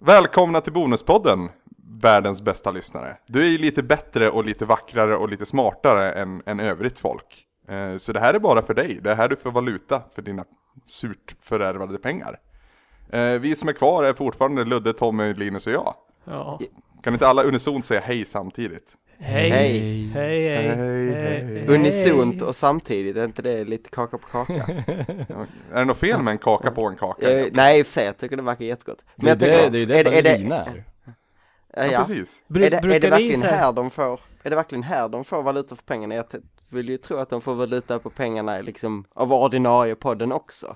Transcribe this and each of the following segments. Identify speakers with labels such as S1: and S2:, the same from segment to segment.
S1: Välkomna till Bonuspodden, världens bästa lyssnare. Du är ju lite bättre och lite vackrare och lite smartare än, än övrigt folk. Eh, Så det här är bara för dig, det är här du får valuta för dina surt förärvade pengar. Eh, Vi som är kvar är fortfarande Ludde, Tommy, Linus och jag.
S2: Ja.
S1: Kan inte alla unisont säga hej samtidigt?
S2: Hej.
S3: Hej.
S2: Hej, hej.
S1: Hej,
S2: hej,
S1: hej.
S2: hej.
S3: Unisont och samtidigt, är inte det lite kaka på kaka?
S1: Är det något fel med en kaka på en kaka?
S3: Eh, nej i och för sig, jag tycker det verkar jättegott.
S4: Det är
S3: jag
S4: det, det är ju det ballerina är.
S3: är,
S1: Ja,
S3: ja.
S1: precis.
S2: Bru-
S3: är, det, är det
S2: brukar ni
S3: verkligen
S2: så här,
S3: här de får, är det verkligen här de får valuta för pengarna? Jag t- vill ju tro att de får valuta på pengarna liksom av ordinarie podden också.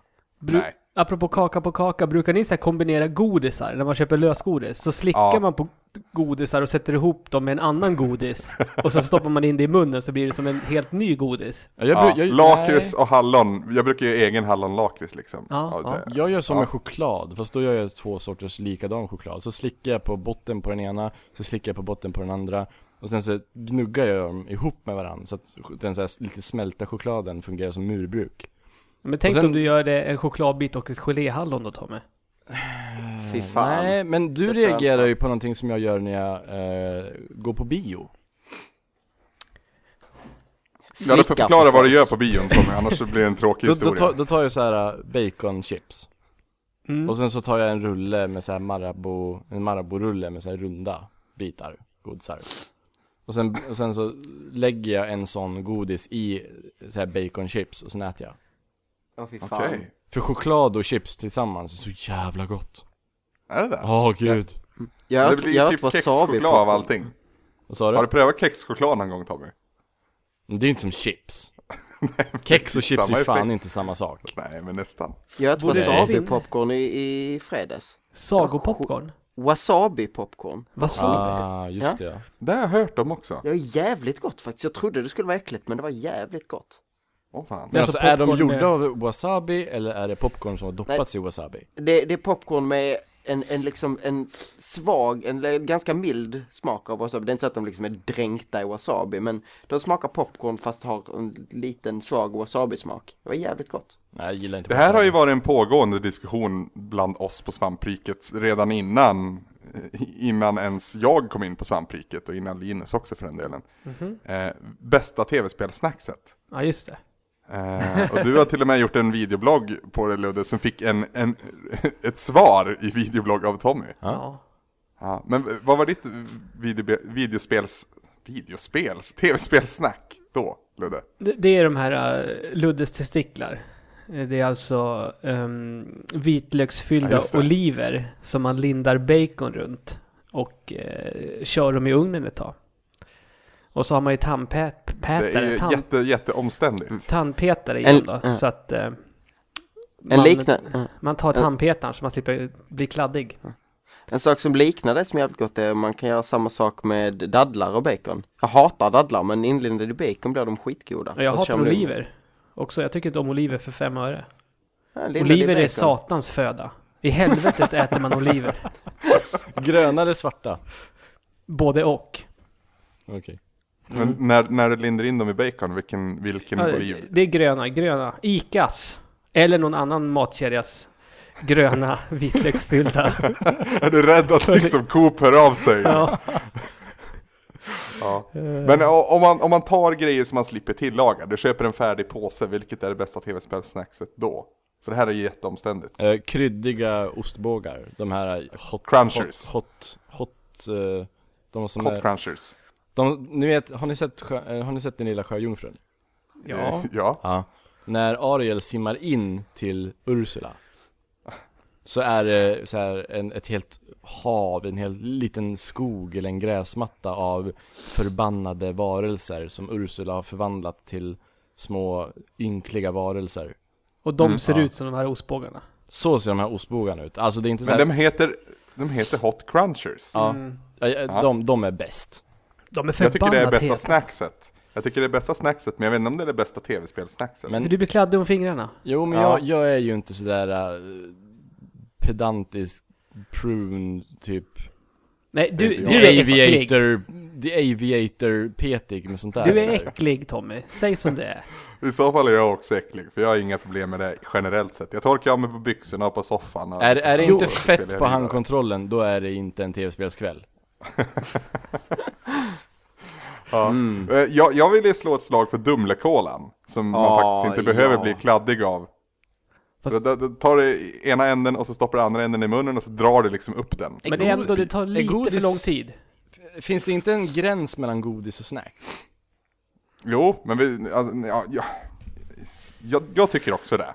S2: bru-
S1: Nej.
S2: apropå kaka på kaka, brukar ni så här kombinera godisar när man köper lösgodis? Så slickar
S1: Ja.
S2: man på godisar och sätter ihop dem med en annan godis och så stoppar man in det i munnen så blir det som en helt ny godis.
S4: Ja, jag,
S1: Ja,
S4: bru- jag,
S1: lakrits
S4: nej.
S1: och hallon, jag brukar ju egen hallonlakrits liksom.
S2: Ja, ja.
S1: det-
S4: Jag gör som
S1: Ja.
S4: med choklad, fast då gör jag två sorters likadan choklad. Så slickar jag på botten på den ena, så slickar jag på botten på den andra. Och sen så gnuggar jag dem ihop med varandra så att den så här lite smälta chokladen fungerar som murbruk.
S2: Men tänk
S4: Och sen-
S2: om du gör det en chokladbit och ett geléhallon då Tommy?
S3: Fy fan.
S4: Eh, Nej, men du
S3: Det tror jag
S4: reagerar
S3: inte.
S4: ju på någonting som jag gör när jag eh, går på bio.
S1: Ja, du får
S3: Slicka
S1: förklara
S3: på
S1: vad du gör
S3: folk.
S1: på bion Tommy, annars så blir det en tråkig
S4: Då, då,
S1: historia.
S4: tar, då tar jag så här äh, baconchips.
S2: Mm.
S4: Och sen så tar jag en rulle med så här Marabou, en Marabou-rulle med så här runda bitar, godisar. Och sen, och sen så lägger jag en sån godis i så här baconchips och sen äter jag.
S3: Åh fy fan.
S1: Okej,
S4: För choklad och chips tillsammans är så jävla gott.
S1: är det där?
S4: Åh gud.
S3: Jag,
S1: det
S3: det jag
S1: blir
S3: typ
S1: typ kexchoklad av allting.
S4: Vad sa
S1: Har du
S4: du?
S1: prövat kexchoklad någon gång Tommy?
S4: Men Det är ju inte som chips. Kex och chips är
S1: samma
S4: ju fan
S1: effekt.
S4: inte samma sak.
S1: Nej, men nästan.
S3: Jag åt
S2: Borde det
S3: wasabi-popcorn i, i fredags.
S2: Sagopopcorn?
S3: Wasabi-popcorn.
S2: Vad sa
S4: Ah, just det ja.
S1: Det har jag hört om också.
S3: Det var jävligt gott faktiskt. Jag trodde det skulle vara äckligt men det var jävligt gott.
S1: Åh fan.
S4: Men
S2: alltså
S4: alltså är de
S2: popcorn med-
S4: gjorda av wasabi eller är det popcorn som har doppats i wasabi?
S3: Det, det är popcorn med en, en liksom en svag, en le- ganska mild smak av wasabi. Det är inte så att de liksom är dränkta i wasabi men de smakar popcorn fast har en liten svag wasabi-smak. Det var jävligt gott.
S4: Nej, jag gillar inte
S1: Det här har
S4: wasabi.
S1: ju varit en pågående diskussion bland oss på svampriket redan innan eh, innan ens jag kom in på svampriket och innan Linus också för den delen. Eh, bästa tv-spelsnackset.
S2: Mhm. Ja just det.
S1: Eh, och du har till och med gjort en videoblogg på det Ludde som fick en, en, ett svar i videoblogg av Tommy.
S2: Ja.
S1: Ja, men vad var ditt video, videospels, videospels, tv-spelssnack då, Ludde?
S2: Det, det är de här uh, Luddes testiklar. Eh, Det är alltså ehm,
S1: Ja,
S2: vitlöksfyllda
S1: just det.
S2: oliver som man lindar bacon runt och eh, kör dem i ugnen ett tag. Och så har man ju
S1: Det är
S2: tandpetare,
S1: ju
S2: tand,
S1: jätte, jätteomständigt.
S4: Mm.
S2: tandpetare i
S3: En-
S2: dem då.
S3: ja.
S2: Så att eh,
S3: En,
S2: man,
S3: likna, ja.
S2: man tar tandpetaren så man slipper bli kladdig.
S3: en sak som liknar det som är jävligt gott är att man kan göra samma sak med dadlar och bacon. Jag hatar dadlar men inlindade i bacon blir de skitgoda.
S2: Och jag
S3: Och så kör
S2: hatar
S3: man in-
S2: oliver också. Jag tycker inte om oliver för fem öre.
S3: Ja, inlindade i
S2: Oliver är
S3: bacon.
S2: satans föda. I helvetet äter man oliver.
S4: Gröna eller svarta?
S2: Både och.
S4: Okej.
S1: Men
S4: Mm.
S1: när, när du lindar in dem i bacon, vilken, vilken
S2: Ja,
S1: oliv?
S2: Det är gröna, gröna. Icas. Eller någon annan matkedjas gröna vitlöksfyllda.
S1: Är du rädd att liksom Coop hör av sig?
S2: Ja.
S1: Ja.
S4: Eh.
S1: Men o- om man, om man tar grejer som man slipper tillaga, du köper en färdig påse, vilket är det bästa tv-spelsnackset då? För det här är ju jätteomständigt.
S4: Eh, kryddiga ostbågar, de här hot...
S1: Crunchers.
S4: Hot, hot, hot eh, de som
S1: Hot
S4: är...
S1: crunchers.
S4: De, ni vet, har ni sett, sjö, eh, har ni sett den lilla sjöjungfrun?
S2: ja.
S1: ja.
S4: Ja. När Ariel simmar in till Ursula så är det så här en, ett helt hav, en hel liten skog eller en gräsmatta av förbannade varelser som Ursula har förvandlat till små ynkliga varelser.
S2: Och de ser
S4: ja.
S2: ut som de här ostbågarna.
S4: Så ser de här ostbågarna ut. Alltså det är inte så
S1: Men
S4: här,
S1: de heter, de heter Hot crunchers.
S4: ja, Ja, ja, de, de är bäst.
S2: De är
S1: Jag tycker
S2: förbannat
S1: det är bästa
S2: heta.
S1: snackset. Jag tycker det är bästa snackset, men jag vet inte om det är det bästa tv-spelsnackset.
S4: Men
S2: För du blir kladdig om fingrarna.
S4: Jo men
S1: Ja.
S4: jag, jag är ju inte sådär uh, pedantisk prune typ
S2: Nej, du,
S1: inte
S2: du
S1: jag.
S2: är äcklig.
S4: Aviator The Aviator-petig med sånt där.
S2: Du är
S4: eller?
S2: äcklig Tommy, säg som det är.
S1: I så fall är jag också äcklig, för jag har inga problem med det generellt sett. Jag torkar av mig på byxorna och på soffan. Och
S4: Är, är det
S1: Jo,
S4: inte
S1: spelar
S4: fett
S1: jag
S4: på
S1: vidare.
S4: handkontrollen, då är det inte en tv-spelskväll.
S1: Ja. Eh, Jag, jag vill ju slå ett slag för Dumlekolan, som man
S3: Ah,
S1: faktiskt inte behöver
S3: ja.
S1: bli kladdig av.
S2: Fast-
S1: Fast... Du tar du ena änden och så stoppar du andra änden i munnen och så drar du liksom upp den.
S2: Men det är ändå, det tar
S4: Är
S2: lite för
S4: godis-
S2: lång tid.
S4: Finns det inte en gräns mellan godis och snacks?
S1: Jo, men vi, alltså, ja, ja, jag, jag tycker också det.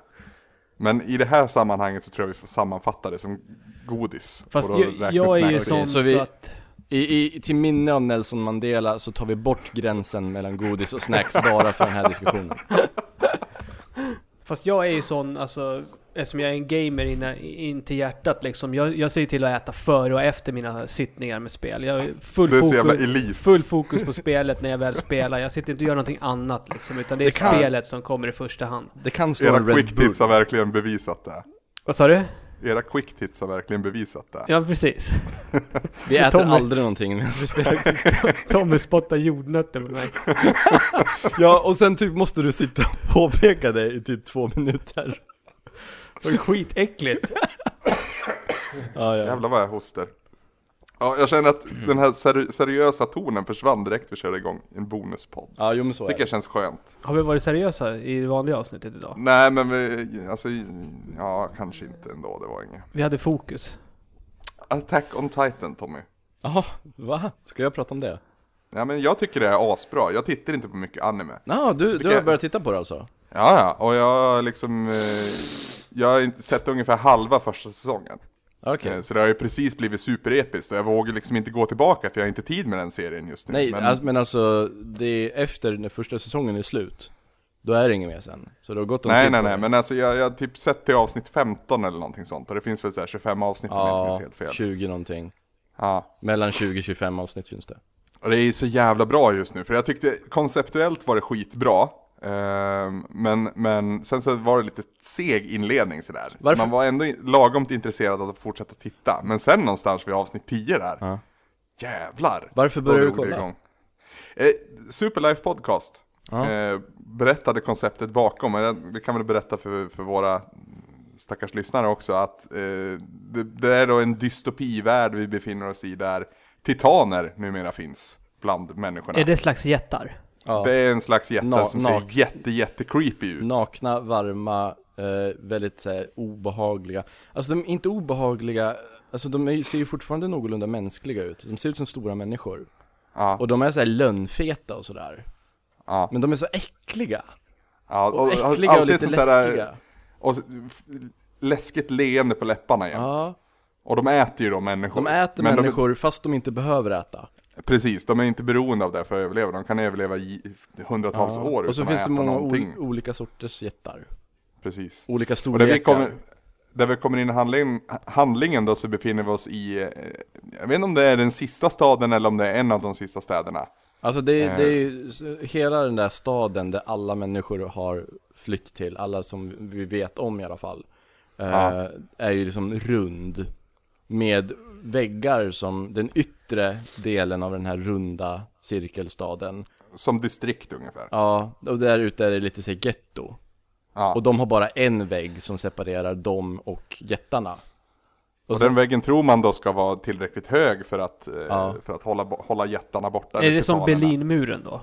S1: Men i det här sammanhanget så tror jag vi får sammanfatta det som godis.
S2: Fast
S1: Och då
S2: jag,
S1: räknas
S2: jag är ju
S1: snacks.
S2: sån
S4: så
S2: så,
S4: vi-
S2: att...
S4: I, i, till minne av Nelson Mandela så tar vi bort gränsen mellan godis och snacks bara för den här diskussionen.
S2: Fast jag är ju sån, alltså, eftersom jag är en gamer inna, in till hjärtat liksom. Jag, jag ser till att äta före och efter mina sittningar med spel. Jag är full,
S1: Du är så jävla
S2: fokus,
S1: elit.
S2: full fokus på spelet när jag väl spelar. Jag sitter inte och gör någonting annat liksom, utan det är
S4: Det kan-
S2: spelet som kommer i första hand.
S4: Det kan stå en
S1: Era
S4: Red
S1: quick
S4: Bull.
S1: tits har verkligen bevisat det.
S2: Vad sa du?
S1: Era quick tits har verkligen bevisat det.
S2: Ja, precis.
S4: Vi äter
S2: Tommy.
S4: aldrig någonting medan vi spelar
S2: Tommy spottar jordnötter på mig.
S4: Ja, och sen typ måste du sitta och påpeka det i typ två minuter.
S2: Det var skitäckligt.
S4: Ja, ja.
S1: Jävlar vad jag hostar. Ja, jag känner att
S2: Mm.
S1: den här seri- seriösa tonen försvann direkt vi körde igång en bonuspodd.
S4: ja jo men så är
S1: Tycker
S4: det.
S1: jag känns skönt.
S2: Har vi varit seriösa i det vanliga avsnittet idag?
S1: Nej men vi, alltså, ja kanske inte ändå, det var inget.
S2: Vi hade fokus.
S1: Attack on Titan Tommy.
S4: Jaha, va? Ska jag prata om det?
S1: Ja men jag tycker det är asbra, jag tittar inte på mycket anime.
S4: Ja, du,
S1: Tycker
S4: du har
S1: jag-
S4: börjat titta på det alltså?
S1: Ja ja, och jag liksom, eh, jag har inte sett ungefär halva första säsongen.
S4: Okej.
S1: Eh, Så det har ju precis blivit superepiskt och jag vågar liksom inte gå tillbaka för jag har inte tid med den serien just nu.
S4: Nej,
S1: men,
S4: alltså, men alltså, det är efter när första säsongen är slut. Då är det inget mer sen. Så det har gått om typ
S1: Nej
S4: tid
S1: nej
S4: på
S1: nej,
S4: det.
S1: men alltså jag jag har typ sett till avsnitt 15 eller någonting sånt och det finns väl så här 25 avsnitt om jag inte
S4: Ja,
S1: minns helt fel.
S4: 20 någonting.
S1: Ja.
S4: Mellan 20-25 avsnitt finns det.
S1: Och det är ju så jävla bra just nu för jag tyckte konceptuellt var det skitbra. Ehm, men, men sen så var det lite seg inledning sådär.
S4: Varför?
S1: Man var ändå i- lagomt intresserad av att fortsätta titta. Men sen någonstans vid avsnitt 10 där,
S4: Ja.
S1: jävlar!
S4: Varför
S1: då
S4: började du
S1: drog det
S4: kolla?
S1: igång. Eh, Superlife Podcast
S4: Ja.
S1: eh, berättade konceptet bakom, men jag- vi kan väl berätta för, för våra stackars lyssnare också att eh, det, det är då en dystopivärld vi befinner oss i där titaner numera finns bland människorna.
S2: Är det slags jättar?
S4: Ja.
S1: Det är en slags jätte
S4: Na-
S1: som
S4: nak-
S1: ser jätte, jätte creepy ut.
S4: Nakna, varma, eh, väldigt så här, obehagliga. Alltså de är inte obehagliga, alltså de är, ser ju fortfarande någorlunda mänskliga ut. De ser ut som stora människor.
S1: Ja,
S4: Och de är så här lönnfeta och sådär.
S1: ja,
S4: Men de är så äckliga.
S1: ja.
S4: Och,
S1: har-
S4: äckliga och
S1: alltid
S4: lite
S1: sånt där- eh,
S4: läskiga.
S1: Och f- läskigt leende på läpparna jämt.
S4: Ja,
S1: Och de äter ju då människor.
S4: de äter
S1: Men de-
S4: människor fast de inte behöver äta.
S1: Precis, de är inte beroende av det för att överleva. De kan överleva i hundratals
S4: Ja.
S1: år
S4: Och så
S1: utan
S4: finns
S1: att
S4: det
S1: äta
S4: många
S1: någonting.
S4: ol- olika sorters jättar.
S1: Precis.
S4: Olika
S1: Och där vi,
S4: storlekar.
S1: kommer, där vi kommer in i handling, handlingen då så befinner vi oss i, eh, jag vet inte om det är den sista staden eller om det är en av de sista städerna.
S4: Alltså det,
S1: Eh.
S4: är- det är ju s- hela den där staden där alla människor har flytt till, alla som vi vet om i alla fall. eh,
S1: Ja.
S4: Är ju liksom rund. Med väggar som den yttre delen av den här runda cirkelstaden.
S1: Som distrikt ungefär.
S4: Ja, och där ute är det lite så här getto.
S1: Ja.
S4: Och de har bara en vägg som separerar dem och jättarna.
S1: Och den väggen tror man då ska vara tillräckligt hög för att, eh,
S4: Ja.
S1: för att hålla, bo- hålla jättarna borta.
S2: är
S1: eller
S2: det som
S1: titanerna.
S2: Berlinmuren då?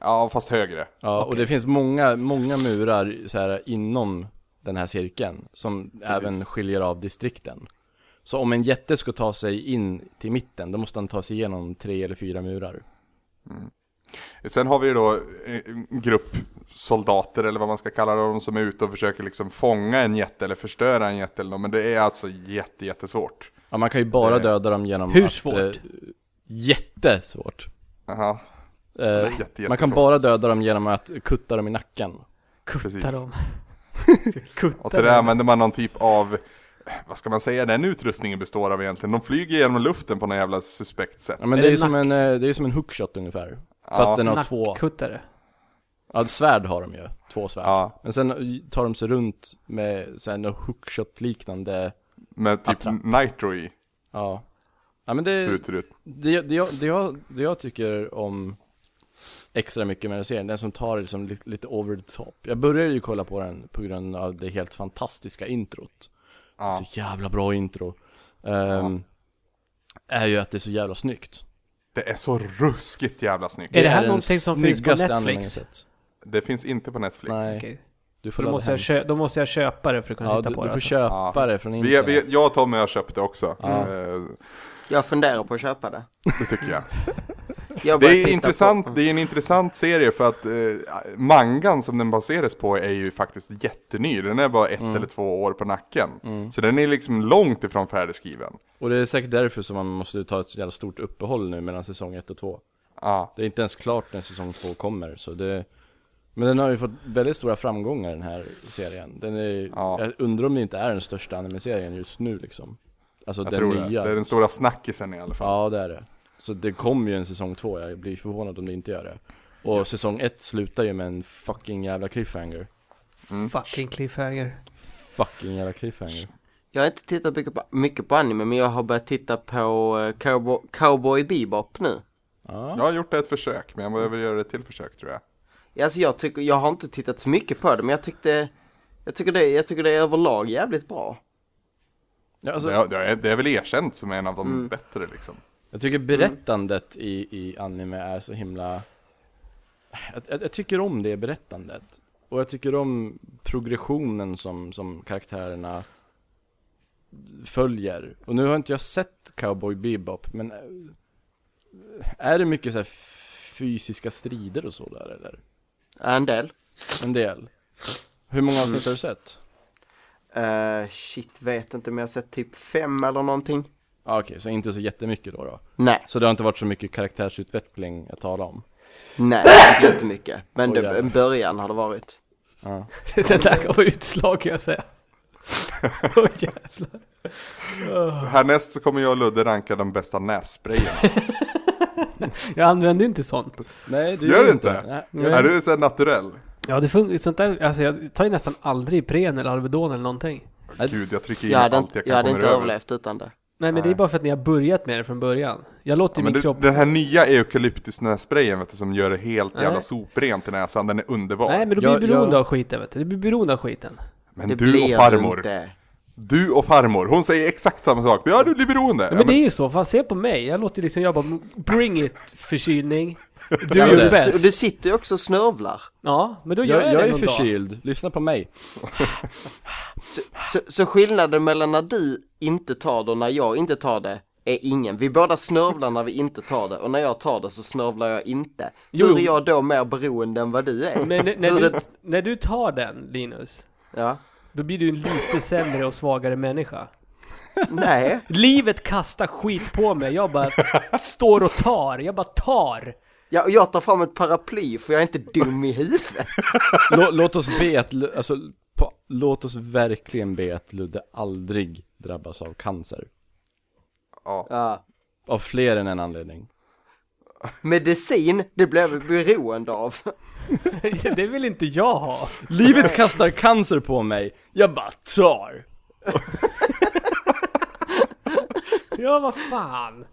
S1: Ja, fast högre.
S4: Ja, och det finns många, många murar så här, inom den här cirkeln som även skiljer av distrikten. Så om en jätte ska ta sig in till mitten, då måste han ta sig igenom tre eller fyra murar.
S1: Sen har vi ju då eh, en grupp soldater eller vad man ska kalla dem som är ute och försöker liksom fånga en jätte eller förstöra en jätte eller något, men det är alltså jätte, jättesvårt.
S4: Ja, man kan ju bara
S1: Eh,
S4: döda dem genom
S2: hur
S4: att,
S2: svårt?
S4: eh, jättesvårt!
S1: Aha.
S4: Eh,
S1: jätte,
S4: man kan
S1: jättesvårt.
S4: bara döda dem genom att kutta dem i nacken.
S2: Kutta
S1: Precis.
S2: dem.
S1: Och
S2: Kutta
S1: till det
S2: dem.
S1: använder man någon typ av, vad ska man säga den utrustningen består av egentligen? De flyger genom luften på något jävla suspekt sätt.
S4: Ja, men
S2: Är
S4: det är
S2: det
S4: ju som en, eh, det är som en hookshot ungefär. Fast
S1: Ja.
S4: den har två,
S2: Nackkuttare.
S4: ja, ett svärd har de ju, två svärd.
S1: Ja,
S4: Men sen tar de sig runt med sen hookshot liknande,
S1: med typ
S4: Attra.
S1: nitro i.
S4: ja. Ja, men det,
S1: sprutar ut.
S4: det, det, jag, det, jag, det jag tycker om extra mycket med den serien, den som tar det liksom lite, lite over the top. Jag började ju kolla på den på grund av det helt fantastiska introt.
S1: Ja.
S4: Så jävla bra intro. Ehm, Är ju att det är så jävla snyggt.
S1: Det är så ruskigt jävla snyggt.
S2: Är det här
S4: den
S2: någonting som finns på
S4: snyggaste
S2: Netflix?
S4: anledningen jag sett.
S1: Det finns inte på Netflix.
S4: Nej,
S2: Okej.
S4: du får
S2: Då,
S4: ladda
S2: måste
S4: hem.
S2: jag kö- då måste jag köpa det för att kunna
S4: Ja,
S2: titta
S4: du,
S2: på
S4: du
S2: det.
S4: får
S2: Alltså.
S4: köpa det från
S1: Vi,
S4: internet.
S1: vi, jag och Tommy har köpt det också.
S4: Ja.
S1: Eh,
S3: Jag funderar på att köpa det.
S1: Det tycker jag.
S3: Jag
S1: Det
S3: börjar
S1: är,
S3: titta
S1: intressant,
S3: På,
S1: det är en intressant serie för att eh, mangan som den baseras på är ju faktiskt jätteny. Den är bara ett
S4: Mm.
S1: eller två år på nacken. Så den är liksom långt ifrån färdigskriven.
S4: Och det är säkert därför som man måste ta ett så jävla stort uppehåll nu mellan säsong 1 och 2.
S1: Ja,
S4: Det är inte ens klart när säsong 2 kommer, så det... Men den har ju fått väldigt stora framgångar den här serien. Den är,
S1: Ja.
S4: jag undrar om det inte är den största anime-serien just nu liksom. Alltså
S1: jag
S4: den
S1: tror
S4: nya.
S1: det. Det är den stora snackisen i alla fall.
S4: Ja, det är det. Så det kommer ju en säsong 2, jag blir förvånad om det inte gör det. Och säsong 1 slutar ju med en fucking jävla cliffhanger.
S2: Fucking cliffhanger.
S4: Fucking jävla cliffhanger.
S3: jag har inte tittat mycket på, mycket på anime, men jag har börjat titta på eh, Cowboy, Cowboy Bebop nu.
S1: Jag har gjort ett försök, men jag behöver göra ett till försök tror jag.
S3: Alltså jag tycker, jag har inte tittat så mycket på det, men jag tyckte, jag tycker det, jag tycker det är överlag jävligt bra.
S4: Ja, alltså,
S1: Det, det, är, det är väl erkänt som en av de bättre liksom.
S4: Jag tycker berättandet i, i anime är så himla... Jag, jag, jag tycker om det berättandet. Och jag tycker om progressionen som, som karaktärerna följer. Och nu har inte jag sett Cowboy Bebop, men... eh, Är det mycket så här fysiska strider och så där eller?
S3: Ja, En del.
S4: En del. Hur många avsnitt har du sett?
S3: Eh, shit, vet inte, men jag har sett typ fem eller någonting.
S4: Ah, Okej, så inte så jättemycket då, då.
S3: Nej,
S4: Så det har inte varit så mycket karaktärsutveckling att tala om?
S3: nej, inte jättemycket. Men
S4: Oj,
S3: det,
S4: jävlar.
S3: en början har det varit.
S4: Ja.
S2: det där gav utslag kan jag säga. Åh jävlar.
S1: Härnäst så kommer jag och Ludde ranka de bästa nässprayerna.
S2: Jag använder inte sånt.
S4: Nej, det
S1: Gör
S4: gör
S1: du
S4: du
S1: inte?
S4: Nej,
S2: Nej.
S1: är du såhär naturell?
S2: Ja, det funkar sånt där. Alltså jag tar ju nästan aldrig Ipren eller Alvedon eller någonting.
S4: Nej.
S1: Gud, jag trycker in
S3: Jag hade
S1: allt
S3: inte,
S1: jag kan
S3: jag hade
S1: komma
S3: inte
S1: över.
S3: överlevt utan det.
S2: Nej, men det är
S1: Nej.
S2: bara för att ni har börjat med det från början. Jag låter
S1: Ja, men du,
S2: min kropp...
S1: den här nya eukalyptusnässprayen vet du, som gör det helt jävla
S2: Nej.
S1: soprent i näsan, den är underbar.
S2: Nej, men du blir
S4: Jag-
S2: beroende
S4: jag-
S2: av skiten vet du. Du blir beroende av skiten.
S1: men
S3: det
S1: du och
S3: du
S1: farmor,
S3: inte.
S1: du och farmor, hon säger exakt samma sak. Ja, du blir beroende.
S2: Ja, men det är ju så, fan se på mig. Jag låter liksom, jag bara bring it förkylning. Du
S3: Ja,
S2: gör
S3: men
S2: det
S3: du,
S2: bäst.
S3: du sitter ju också och snörvlar.
S2: Ja, men då gör
S4: Jag,
S2: jag,
S4: jag
S2: det
S4: är
S2: någon dag.
S4: förkyld, lyssna på mig.
S3: Så, så, så skillnaden mellan när du inte tar det och när jag inte tar det är ingen. Vi båda snörvlar när vi inte tar det och när jag tar det så snörvlar jag inte.
S2: Jo.
S3: Hur är jag då mer beroende än vad du är?
S2: Men n- när
S3: Hur
S2: du,
S3: är-
S2: när du tar den, Linus,
S3: Ja.
S2: då blir du en lite sämre och svagare människa.
S3: Nej.
S2: Livet kastar skit på mig, jag bara står och tar, jag bara tar.
S3: Jag, jag tar fram ett paraply för jag är inte dum i huvudet.
S4: Lå, låt oss be att, Lu- alltså, på, låt oss verkligen be att Ludde aldrig drabbas av cancer.
S1: Ja.
S3: Ja.
S4: Av fler än en anledning.
S3: Medicin, det blev vi beroende av.
S2: Det vill inte jag ha.
S4: Livet kastar cancer på mig, jag bara tar!
S2: Ja, vad fan.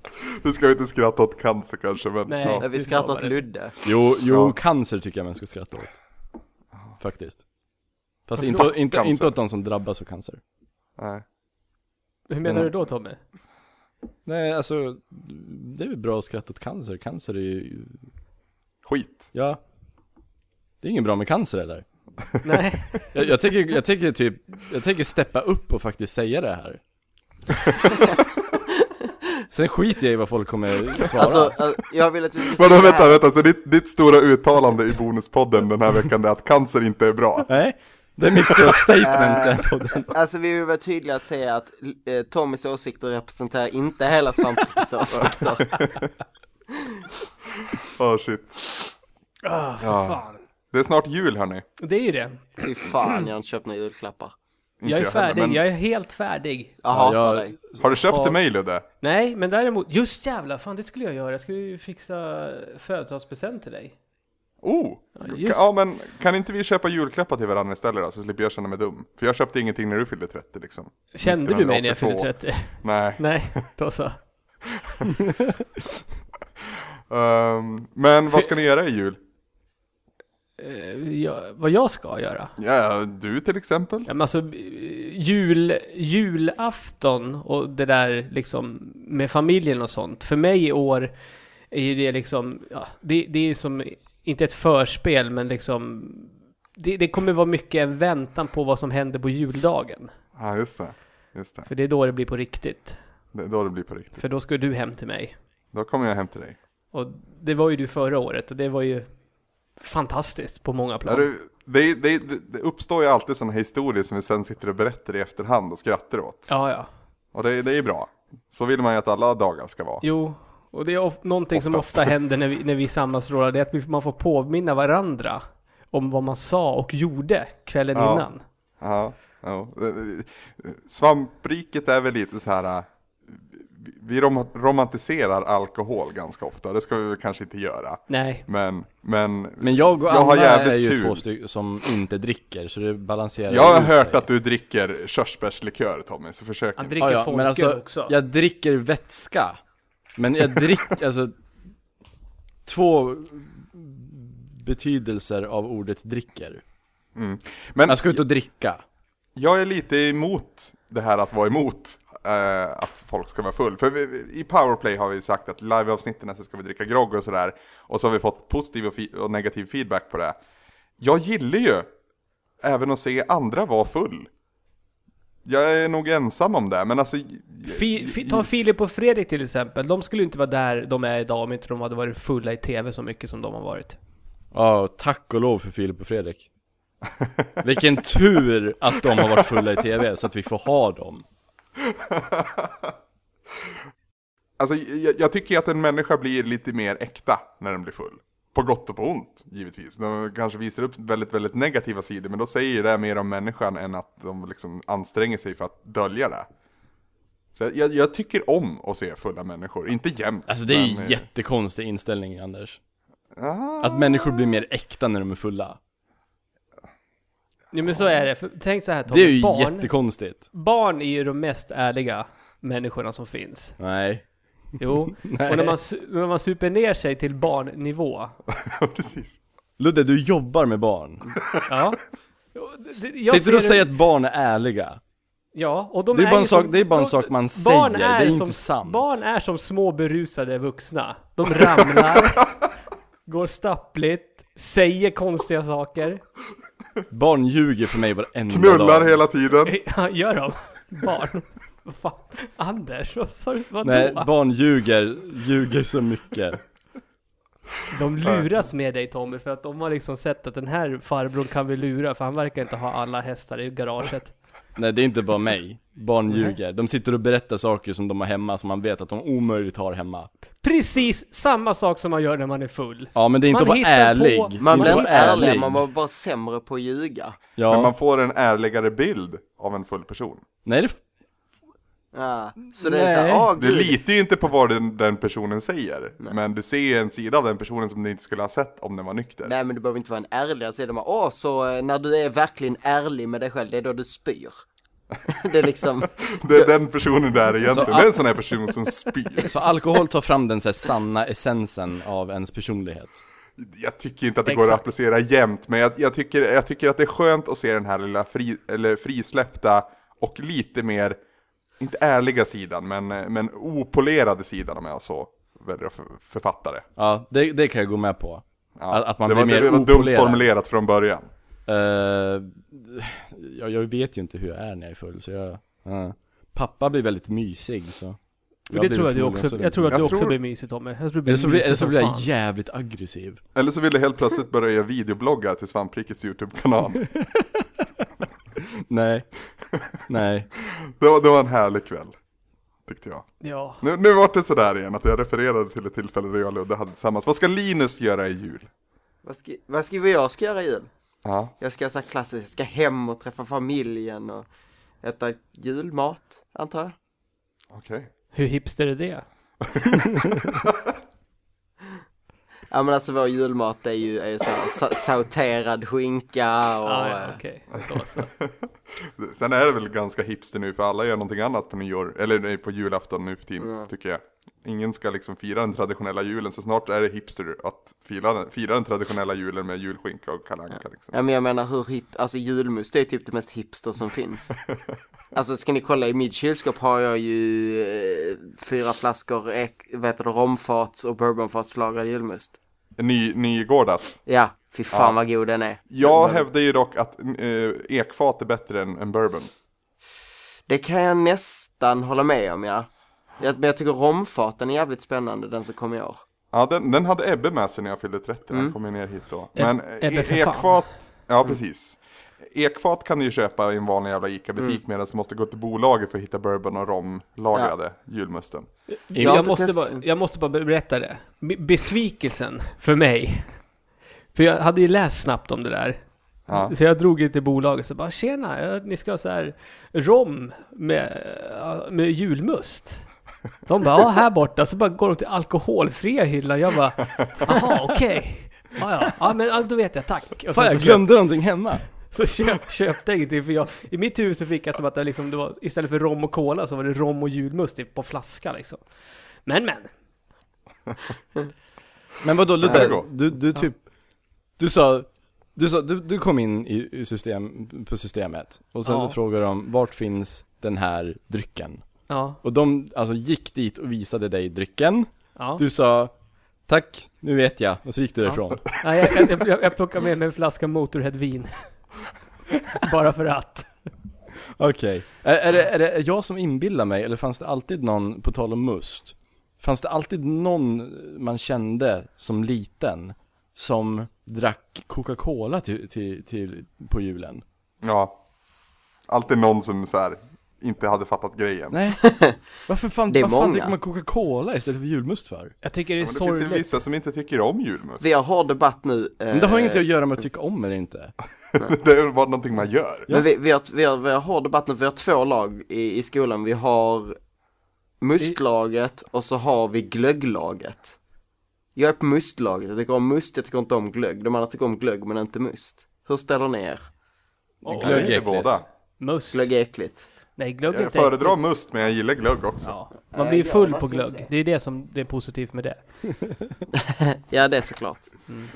S1: Du ska ju inte skratta åt cancer kanske, men
S2: Nej.
S1: ja.
S3: Vi
S2: Det
S3: skrattar åt
S2: sa det.
S3: Ludde.
S4: Jo, jo,
S1: Ja.
S4: cancer tycker jag man ska skratta åt. Faktiskt. Fast
S1: Varför
S4: inte,
S1: då?
S4: inte,
S1: Cancer?
S4: inte åt de som drabbas av cancer.
S1: Nej.
S2: Hur menar du då Tommy?
S4: Nej, alltså, det är väl bra att skratta åt cancer, cancer är ju,
S1: Skit.
S4: ja. Det är inget bra med cancer eller?
S2: Nej,
S4: Jag, jag tänker, jag tänker typ, jag tänker steppa upp och faktiskt säga det här. Sen skiter jag i vad folk kommer svara.
S3: Alltså, eh, jag vill att vi ska
S1: Vadå,
S3: säga det
S1: vänta,
S3: här.
S1: vänta, så ditt, ditt stora uttalande i Bonuspodden den här veckan är att cancer inte är bra?
S4: Nej, det är mitt stora statement där på den.
S3: Alltså vi vill vara tydliga att säga att eh, Tommys åsikter representerar inte hela Svamprikets åsikter.
S1: Åh Oh, shit.
S2: ah, för
S1: Ja.
S2: fan.
S1: Det är snart jul hörni. Inte
S2: Det är ju det.
S3: Fy fan, jag har inte köpt några julklappar.
S2: Jag är
S1: heller,
S2: färdig,
S1: men-
S2: jag är helt färdig.
S3: Jag
S4: Ja,
S3: hatar
S4: jag-
S3: dig.
S1: Har du köpt
S2: Ja.
S1: till mig Ludde?
S2: Nej, men däremot, just jävla fan det skulle jag göra. Jag skulle ju fixa födelsedagspresent till dig.
S1: Oh!
S2: Ja,
S1: Ja,
S2: just.
S1: men kan inte vi köpa julklappar till varandra istället då, så slipper jag känna mig dum? För jag köpte ingenting när du fyllde 30 liksom.
S2: Kände du mig när jag fyllde
S1: 1982.
S2: 30?
S1: Nej,
S2: Nej, då så.
S1: Ehm, men vad ska ni göra i jul?
S2: Eh, jag, vad jag ska göra?
S1: Ja, du till exempel?
S2: Ja, men alltså, eh, jul, julafton och det där liksom med familjen och sånt. För mig i år är ju det liksom, ja, det, det är som, inte ett förspel, men liksom, det, det kommer vara mycket en väntan på vad som händer på juldagen.
S1: Ja, just det. Just det.
S2: För det är då det blir på riktigt.
S1: det. är Då det blir på riktigt.
S2: För då ska du hem till mig.
S1: Då kommer jag hem till dig.
S2: Och det var ju du förra året och det var ju fantastiskt på många
S1: Ja.
S2: plan.
S1: du, det, det, det, det uppstår ju alltid sådana historier som vi sen sitter och berättar i efterhand och skrattar åt.
S2: Ja, ja.
S1: Och det, det är bra. Så vill man ju att alla dagar ska vara.
S2: Jo, och det är of- någonting som
S1: Oftast.
S2: ofta händer när vi, när vi sammanstrålar, det är att vi- man får påminna varandra om vad man sa och gjorde kvällen
S1: Ja.
S2: innan.
S1: Ja, ja. Svampriket är väl lite så här. äh, vi- Vi rom- romantiserar alkohol ganska ofta, det ska vi väl kanske inte göra.
S2: Nej,
S1: Men, men
S4: Men jag och
S1: Jag har
S4: Anna
S1: jävligt
S4: är ju
S1: kul.
S4: två stycken som inte dricker, så det balanserar
S1: jag har
S4: ut
S1: hört
S4: sig.
S1: att du dricker körsbärslikör Tommy, så försök
S2: han
S1: inte.
S2: dricker
S4: Ja, ja,
S2: folköl
S4: men alltså,
S2: också.
S4: Jag dricker vätska. Men jag dricker, alltså två betydelser av ordet dricker.
S1: Men
S4: Jag ska ut och dricka.
S1: jag är lite emot det här att vara emot eh, att folk ska vara full. För vi- vi, i Powerplay har vi sagt att liveavsnitten så ska vi dricka grogg och sådär. Och så har vi fått positiv och, fi- och negativ feedback på det. Jag gillar ju även att se andra vara full. Jag är nog ensam om det, men alltså...
S2: Fi, fi, ta Filip och Fredrik till exempel, de skulle ju inte vara där de är idag om inte de hade varit fulla i tv så mycket som de har varit.
S4: Ja, och tack och lov för Filip och Fredrik. Vilken tur att de har varit fulla i tv, så att vi får ha dem.
S1: Alltså, jag, jag tycker ju att en människa blir lite mer äkta när den blir full. På gott och på ont, givetvis. De kanske visar upp väldigt, väldigt negativa sidor, men då säger ju det mer om människan än att de liksom anstränger sig för att dölja det. Så jag- jag, jag tycker om att se fulla människor, inte jämt.
S4: Alltså det är ju
S1: men, eh,
S4: jättekonstig inställning, Anders.
S1: ah,
S4: Att människor blir mer äkta när de är fulla.
S2: Jo men så är det, för, tänk så här Tom,
S4: Det är ju
S2: barn,
S4: jättekonstigt.
S2: barn är ju de mest ärliga människorna som finns.
S4: Nej.
S2: Jo,
S4: Nej.
S2: och när man, su- när man super ner sig till barnnivå,
S1: precis.
S4: Ludde, du jobbar med barn.
S2: ja. Jo, det- det- jag
S4: Sitter du och
S2: ser-
S4: säger att barn är ärliga?
S2: Ja, och de
S4: Det är bara en
S2: ju
S4: sak-
S2: som-
S4: det är bara en sak man
S2: barn
S4: säger, det är
S2: som,
S4: inte sant.
S2: Barn är som små berusade vuxna. De ramlar, går stappligt, säger konstiga saker.
S4: Barn ljuger för mig varenda
S1: Knullar
S4: dag.
S1: hela tiden.
S2: Eh, Ja, Gör de? Barn? Vad fan? Anders, vad sa du? Vadå?
S4: Nej, barn ljuger, ljuger så mycket.
S2: De luras med dig Tommy, för att de har liksom sett att den här farbrorn kan vi lura, för han verkar inte ha alla hästar i garaget.
S4: Nej, det är inte bara mig. Barn ljuger. De sitter och berättar saker som de har hemma, som man vet att de omöjligt har hemma.
S2: Precis samma sak som man gör när man är full.
S4: Ja, men det är inte
S2: Man
S4: att vara
S2: hittar på-
S4: ärlig. Det är
S3: Man
S4: att
S3: blir
S4: vara
S3: inte ärlig, man var bara sämre på att ljuga.
S4: Ja.
S1: Men man får en ärligare bild av en full person.
S4: Nej, det...
S3: Ja. Så det är
S4: Nej.
S3: såhär, ah
S1: Du
S3: gud.
S1: litar ju inte på vad den, den personen säger, men du ser en sida av den personen som du inte skulle ha sett om den var nykter.
S3: Nej men du behöver inte vara en ärlig sida. Man, Åh, så eh, när du är verkligen ärlig med dig själv, det är då du spyr. det är liksom,
S1: Det är den personen där egentligen,
S4: Så,
S1: det är en sån här person som spyr.
S4: Så alkohol tar fram den så här sanna essensen av ens personlighet.
S1: Jag tycker inte att det går att
S2: Exakt.
S1: applicera jämt, men jag, jag, tycker, jag tycker att det är skönt att se den här lilla fri, eller frisläppta och lite mer, inte ärliga sidan, men, men opolerade sidan om jag så väljer att för- författa det.
S4: Ja, det, det kan jag gå med på.
S1: Ja,
S4: Att, att man
S1: det
S4: blir
S1: var,
S4: mer
S1: det var dumt
S4: opolerad.
S1: formulerat från början.
S4: Eh, ja, jag vet ju inte hur jag är när jag är full, så jag... eh. pappa blir väldigt mysig, så...
S2: Men det
S4: blir
S2: tror jag du
S4: förmodligen
S2: också,
S4: så
S2: jag tror att
S1: Jag
S2: du också
S1: tror-
S2: blir mysig Tommy. Jag tror du blir
S4: Eller så blir,
S2: mysig
S4: eller så
S2: som
S4: blir jag
S2: fan.
S4: jävligt aggressiv.
S1: Eller så vill jag helt plötsligt börja göra videobloggar till Svamprikets YouTube-kanal.
S4: Nej. Nej.
S1: Det var, det var en härlig kväll, tyckte jag.
S2: Ja.
S1: Nu, nu var det sådär igen, att jag refererade till ett tillfälle där jag och Ludde hade tillsammans. Vad ska Linus göra i jul?
S3: vad, skri- vad skriver jag ska göra i jul?
S1: Ja.
S3: Jag ska så här klassiskt, jag ska hem och träffa familjen och äta julmat, antar jag.
S1: Okej.
S2: Hur hipster är det?
S3: Ja men alltså vår julmat är ju, är ju så här, sa- sauterad skinka och...
S2: Ah, ja,
S3: eh,
S2: okej. Då så.
S1: Sen är det väl ganska hipster nu för alla gör någonting annat på nyår, eller nej, på julafton nu för tiden, tycker jag. Ingen ska liksom fira den traditionella julen, så snart är det hipster att fira den, fira den traditionella julen med julskinka och Kalle Anka liksom.
S3: Ja men jag menar hur hip, alltså julmust det är typ det mest hipster som finns. alltså ska ni kolla i mitt kylskåp har jag ju eh, fyra flaskor ek, vad heter det, romfats och bourbonfats lagrad julmust.
S1: Ny, Nygårdas.
S3: Ja, fy fan
S1: Ja.
S3: vad god den är.
S1: Jag
S3: Den-
S1: hävdar ju dock att eh, ekfat är bättre än, än bourbon.
S3: Det kan jag nästan hålla med om ja. Jag, men jag tycker romfaten är jävligt spännande den som kom i år.
S1: Ja, den, den hade Ebbe med sig när jag fyllde 30, han kom ju ner hit då.
S2: Mm. Eb-
S1: Men
S2: Ebbe för Mm.
S1: e- ekfat, ja precis. Ekfat kan du ju köpa i en vanlig jävla ICA-butik
S2: Mm.
S1: medan du måste gå till bolaget för att hitta bourbon och rom lagrade julmusten.
S2: Jag,
S3: har inte
S2: måste
S3: test-
S2: bara, jag måste bara berätta det. Be- Besvikelsen för mig. För jag hade ju läst snabbt om det där.
S1: Ja.
S2: Så jag drog ju till bolaget och så bara tjena, jag hörde ni ska ha så här rom med, ja, med julmust. De bara, ja här borta. Så bara går de till alkoholfria hyllan. Jag bara, jaha okej. Ja, ja. ja men ja, då vet jag, tack. Och sen
S4: Fan jag
S2: så-
S4: glömde någonting hemma!
S2: Så köp, köpte jag ingenting för jag, i mitt huvud så fick jag som att det, liksom, det var, istället för rom och cola så var det rom och julmust typ, på flaska liksom. Men men,
S4: Men vadå
S1: här det
S4: Ludde,
S1: går.
S4: du, du typ, du sa, du sa, du, du kom in i i system, på systemet och sen
S2: Ja.
S4: frågade de vart finns den här drycken?
S2: ja,
S4: Och de alltså gick dit och visade dig drycken,
S2: ja.
S4: du sa tack, nu vet jag, och så gick du därifrån.
S2: ja jag, jag, jag, jag plockade med mig en flaska Motorhead-vin. Bara för att.
S4: Okej. Är, är, det, är det jag som inbillar mig, eller fanns det alltid någon, på tal om must, fanns det alltid någon man kände som liten som drack Coca-Cola till, till, till, på julen?
S1: Ja. Alltid någon som så här inte hade fattat grejen.
S4: Nej. Varför fan,
S3: Det är
S4: vad fan
S3: många.
S4: dricker man Coca-Cola istället för julmust för?
S2: Jag tycker det är
S1: Men det finns ju
S2: sorgligt.
S1: vissa som inte tycker om julmust.
S3: Vi har hård debatt nu. eh,
S4: Men det har ju inget att göra med att tycka om eller inte.
S1: Det är bara någonting man gör.
S3: Men vi, vi, har, vi, har, vi har hård debatt nu, vi har två lag i, i skolan. Vi har mustlaget och så har vi glögglaget. Jag är på mustlaget, jag tycker om must, jag tycker inte om glögg. De andra tycker om glögg men inte must. Hur ställer ni er?
S2: Åh,
S1: Jag gillar
S4: Glöggäckligt.
S1: båda.
S2: must.
S3: Glögg är äckligt.
S2: Nej, glögg är
S1: Jag
S2: inte
S1: föredrar
S2: äckligt.
S1: must men jag gillar glögg också.
S2: Ja. Man
S3: Äh,
S2: blir ju
S3: jag
S2: full
S3: vet
S2: på
S3: inte.
S2: glögg. Det är det som det är positivt med det.
S3: Ja det är såklart.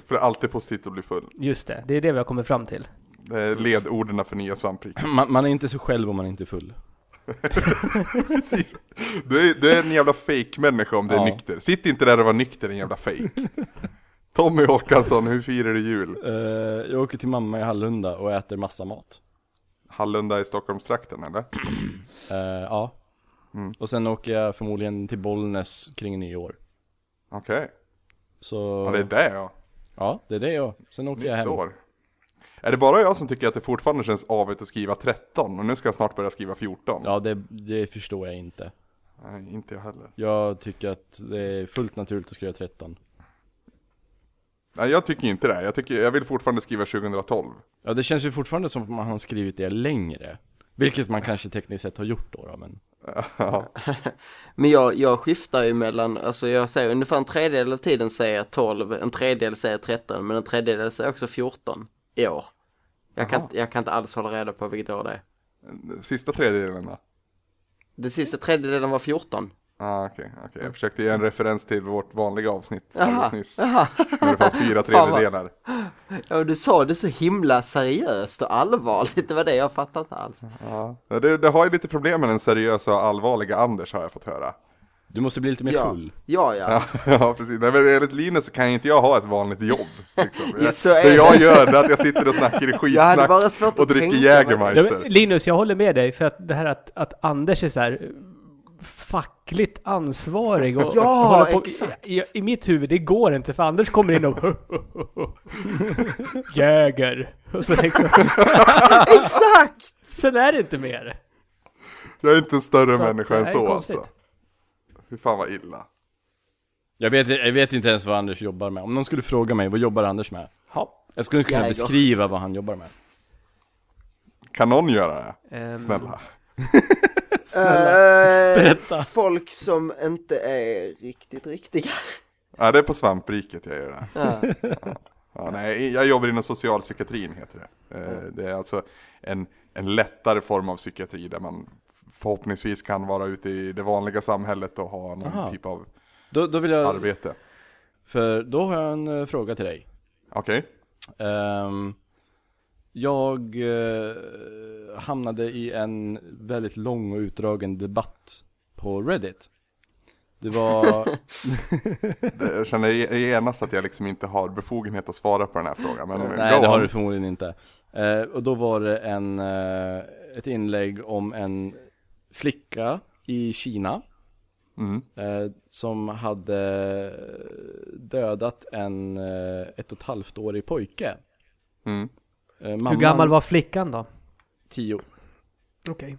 S1: För det är alltid positivt att bli full.
S2: Just det, det är det vi har kommit fram till.
S1: Det är
S2: Mm.
S1: ledorden för nya svamprik.
S4: Man, man är inte sig själv om man inte är full.
S1: Precis. Du är, du är en jävla fake-människa om du är
S4: Ja.
S1: nykter. Sitt inte där och var nykter en jävla fake. Tommy Håkansson, hur firar du jul?
S4: Eh, jag åker till mamma i Hallunda och äter massa mat.
S1: Hallunda i Stockholmstrakten eller?
S4: Eh, ja.
S3: Mm.
S4: Och sen åker jag förmodligen till Bollnäs kring nyår.
S1: Okej,
S4: Så...
S1: ja det är det ja.
S4: Ja, det är det jag. Sen åker jag
S1: Nytt
S4: hem.
S1: år. Är det bara jag som tycker att det fortfarande känns avigt att skriva 13 och nu ska jag snart börja skriva 14?
S4: Ja, det, det förstår jag inte.
S1: Nej, inte jag heller.
S4: Jag tycker att det är fullt naturligt att skriva 13.
S1: Nej, jag tycker inte det. Jag, tycker, jag vill fortfarande skriva 2012.
S4: Ja, det känns ju fortfarande som att man har skrivit det längre. Vilket man kanske tekniskt sett har gjort då, då men...
S1: Ja.
S3: Men jag, jag skiftar ju mellan, alltså jag säger ungefär en tredjedel av tiden säger jag 12, en tredjedel säger jag 13, men en tredjedel säger också 14 i år. Jag kan,
S1: Jaha.
S3: inte- jag kan inte alls hålla reda på vilket år det är.
S1: Sista tredjedelen då?
S3: Den sista tredjedelen var 14.
S1: Ah, okej, okej. Jag försökte ge en referens till vårt vanliga avsnitt
S3: Aha,
S1: alldeles nyss. När det var fyra
S3: Fan vad-
S1: tredjedelar.
S3: Ja, och du sa det så himla seriöst och allvarligt, det var det jag fattade inte alls.
S1: Ja. Det, det har ju lite problem med den seriösa och allvarliga Anders har jag fått höra.
S4: Du måste bli lite mer
S3: Ja,
S4: full.
S3: ja, ja.
S1: Ja, ja precis. Nej, men enligt Linus så kan inte jag ha ett vanligt jobb. Liksom.
S3: Ja, så är
S1: det
S3: det.
S1: jag gör det är att jag sitter och snackar i
S3: Jag hade bara
S1: skitsnack
S3: svårt att
S1: och dricker
S3: tänka mig.
S2: Ja, men
S1: Jägermeister.
S2: Linus, jag håller med dig för att det här att, att Anders är så här eh, fackligt ansvarig och,
S3: Ja,
S2: och håller
S3: exakt.
S2: I, i, I mitt huvud, det går inte för Anders kommer in och Jäger. Och så liksom,
S3: Exakt!
S2: sen är det inte mer.
S1: Jag är inte en större
S2: Så att
S1: människa
S2: det
S1: än
S2: här är
S1: så
S2: konstigt.
S1: alltså. Hur fan vad illa.
S4: Jag vet, jag vet inte ens vad Anders jobbar med. Om någon skulle fråga mig, vad jobbar Anders med?
S2: Ja.
S4: Jag skulle kunna
S3: Jäger.
S4: beskriva vad han jobbar med.
S1: Kan någon göra det?
S2: Ehm,
S1: Snälla.
S3: Berätta. Eh, Folk som inte är riktigt riktiga.
S1: Ja, det är på svampriket jag gör det.
S3: Ja.
S1: Ja, nej, jag jobbar inom socialpsykiatrin heter det. Eh, Det är alltså en, en lättare form av psykiatri där man förhoppningsvis kan vara ute i det vanliga samhället och ha någon
S4: Aha.
S1: typ av
S4: Då, då vill jag,
S1: arbete.
S4: för då har jag en eh, fråga till dig.
S1: Okej,
S4: Ehm, jag eh, hamnade i en väldigt lång och utdragen debatt på Reddit. Det var,
S1: Det- jag känner i- genast att jag liksom inte har befogenhet att svara på den här frågan. Men
S4: nej
S1: go
S4: det har
S1: on.
S4: du förmodligen inte. Eh, och då var det en, eh, ett inlägg om en flicka i Kina
S1: Mm.
S4: eh, som hade dödat en eh, ett och ett halvt årig pojke.
S1: Mm.
S4: Eh, mamman,
S2: Hur gammal var flickan då?
S4: Tio.
S2: Okej.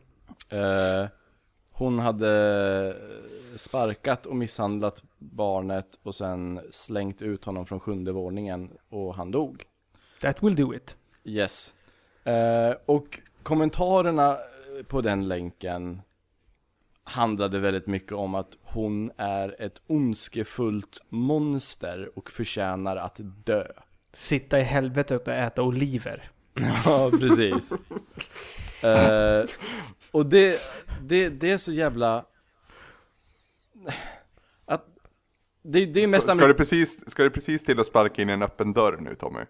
S4: Eh, hon hade sparkat och misshandlat barnet och sen slängt ut honom från sjunde våningen och han dog.
S2: That will do it.
S4: Yes. Eh, och kommentarerna på den länken handlade väldigt mycket om att hon är ett ondskefullt monster och förtjänar att dö.
S2: Sitta i helvetet och äta oliver.
S4: Ja, precis. Eh, och det, det, det är så jävla... Att, det, det är mest...
S1: Ska, du precis, ska du precis till att sparka in en öppen dörr nu Tommy?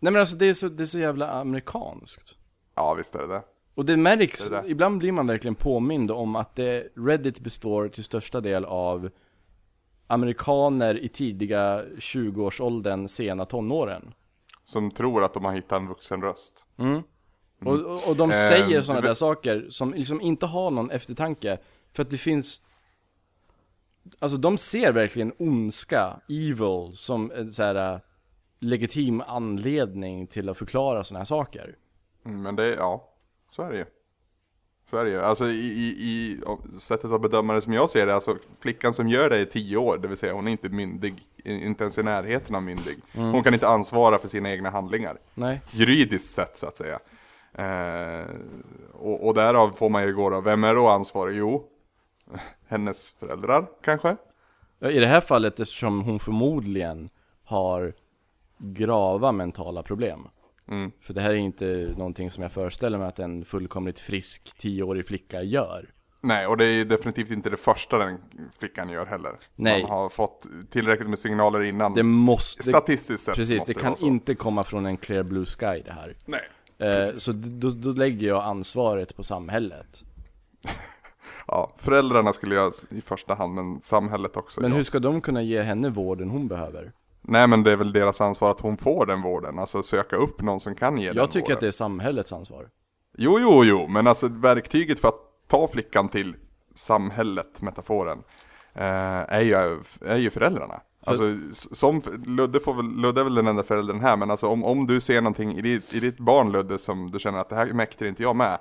S4: Nej men alltså det är, så, det är så jävla amerikanskt.
S1: Ja visst är det det.
S4: Och det märks,
S1: Det där.
S4: ibland blir man verkligen påmind om att det, Reddit består till största del av amerikaner i tidiga 20-årsåldern, sena tonåren.
S1: Som tror att de har hittat en vuxen röst.
S4: Och, och, och de
S1: Eh,
S4: säger sådana
S1: det-
S4: där saker som liksom inte har någon eftertanke. För att det finns... Alltså de ser verkligen ondska, evil, som en så här eh, legitim anledning till att förklara sådana här saker.
S1: Mm, Men det, ja, så är det ju. Så är det ju. Alltså i, i, i om- sättet att bedöma det som jag ser det, alltså flickan som gör det är tio år, det vill säga hon är inte myndig, i- inte ens i närheten av myndig.
S4: Mm.
S1: Hon kan inte ansvara för sina egna handlingar,
S4: Nej.
S1: juridiskt sett så att säga. Eh, och, och därav får man ju gå då, vem är då ansvarig? Jo, hennes föräldrar kanske?
S4: Ja, I det här fallet eftersom hon förmodligen har grava mentala problem.
S1: Mm.
S4: För det här är inte någonting som jag föreställer mig att en fullkomligt frisk tioårig flicka gör.
S1: Nej, och det är definitivt inte det första den flickan gör heller.
S4: Nej.
S1: Man har fått tillräckligt med signaler innan.
S4: Det måste...
S1: Statistiskt sett
S4: Precis,
S1: måste
S4: det kan
S1: vara så.
S4: inte komma från en clear blue sky det här.
S1: Nej.
S4: Eh, så d- då, då lägger jag ansvaret på samhället.
S1: Ja, föräldrarna skulle jag i första hand, men samhället också.
S4: Men
S1: ja.
S4: hur ska de kunna ge henne vården hon behöver?
S1: Nej men det är väl deras ansvar att hon får den vården, alltså söka upp någon som kan ge den
S4: Jag tycker
S1: vården.
S4: att det är samhällets ansvar.
S1: Jo, jo, jo, men alltså verktyget för att ta flickan till samhället, metaforen, eh, är, ju, är ju föräldrarna. Alltså, s- som, Ludde, får väl, Ludde är väl den enda föräldern här, men alltså om, om du ser någonting i ditt, i ditt barn Ludde som du känner att det här mäktar inte jag med,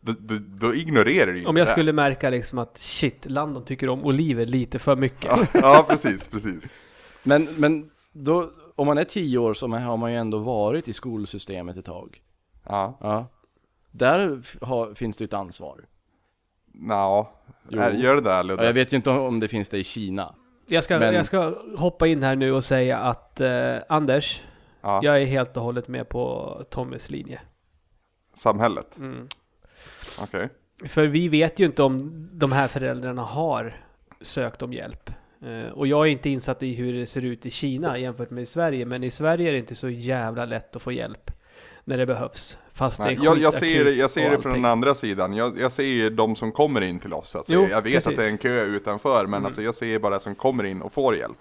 S1: då, då, då ignorerar du ju
S2: Om jag
S1: det.
S2: skulle märka liksom att shit, Landon tycker om oliver lite för mycket.
S1: Ja, precis, precis.
S4: Men, men då, om man är tio år så har man ju ändå varit i skolsystemet ett tag.
S1: Ja.
S4: Ja. Där f- har, finns det ju ett ansvar.
S1: Nja,
S4: Jo.
S1: Är- gör det där
S4: Ja, jag
S1: Ludde.
S4: vet ju inte om det finns det i Kina.
S2: Jag ska,
S4: Men-
S2: jag ska hoppa in här nu och säga att eh, Anders,
S1: Ja,
S2: jag är helt och hållet med på Tommys linje.
S1: Samhället,
S2: Mm.
S1: okej.
S2: För vi vet ju inte om de här föräldrarna har sökt om hjälp. Eh, och jag är inte insatt i hur det ser ut i Kina jämfört med i Sverige, men i Sverige är det inte så jävla lätt att få hjälp när det behövs. Fast det
S1: Nej,
S2: är
S1: Jag, jag
S2: skitakut
S1: ser, det- jag ser
S2: och
S1: det från
S2: allting.
S1: den andra sidan, jag, jag ser ju de som kommer in till oss. Alltså.
S2: Jo,
S1: jag vet att
S2: precis. Mm.
S1: det är en kö utanför, men alltså, jag ser bara som kommer in och får hjälp.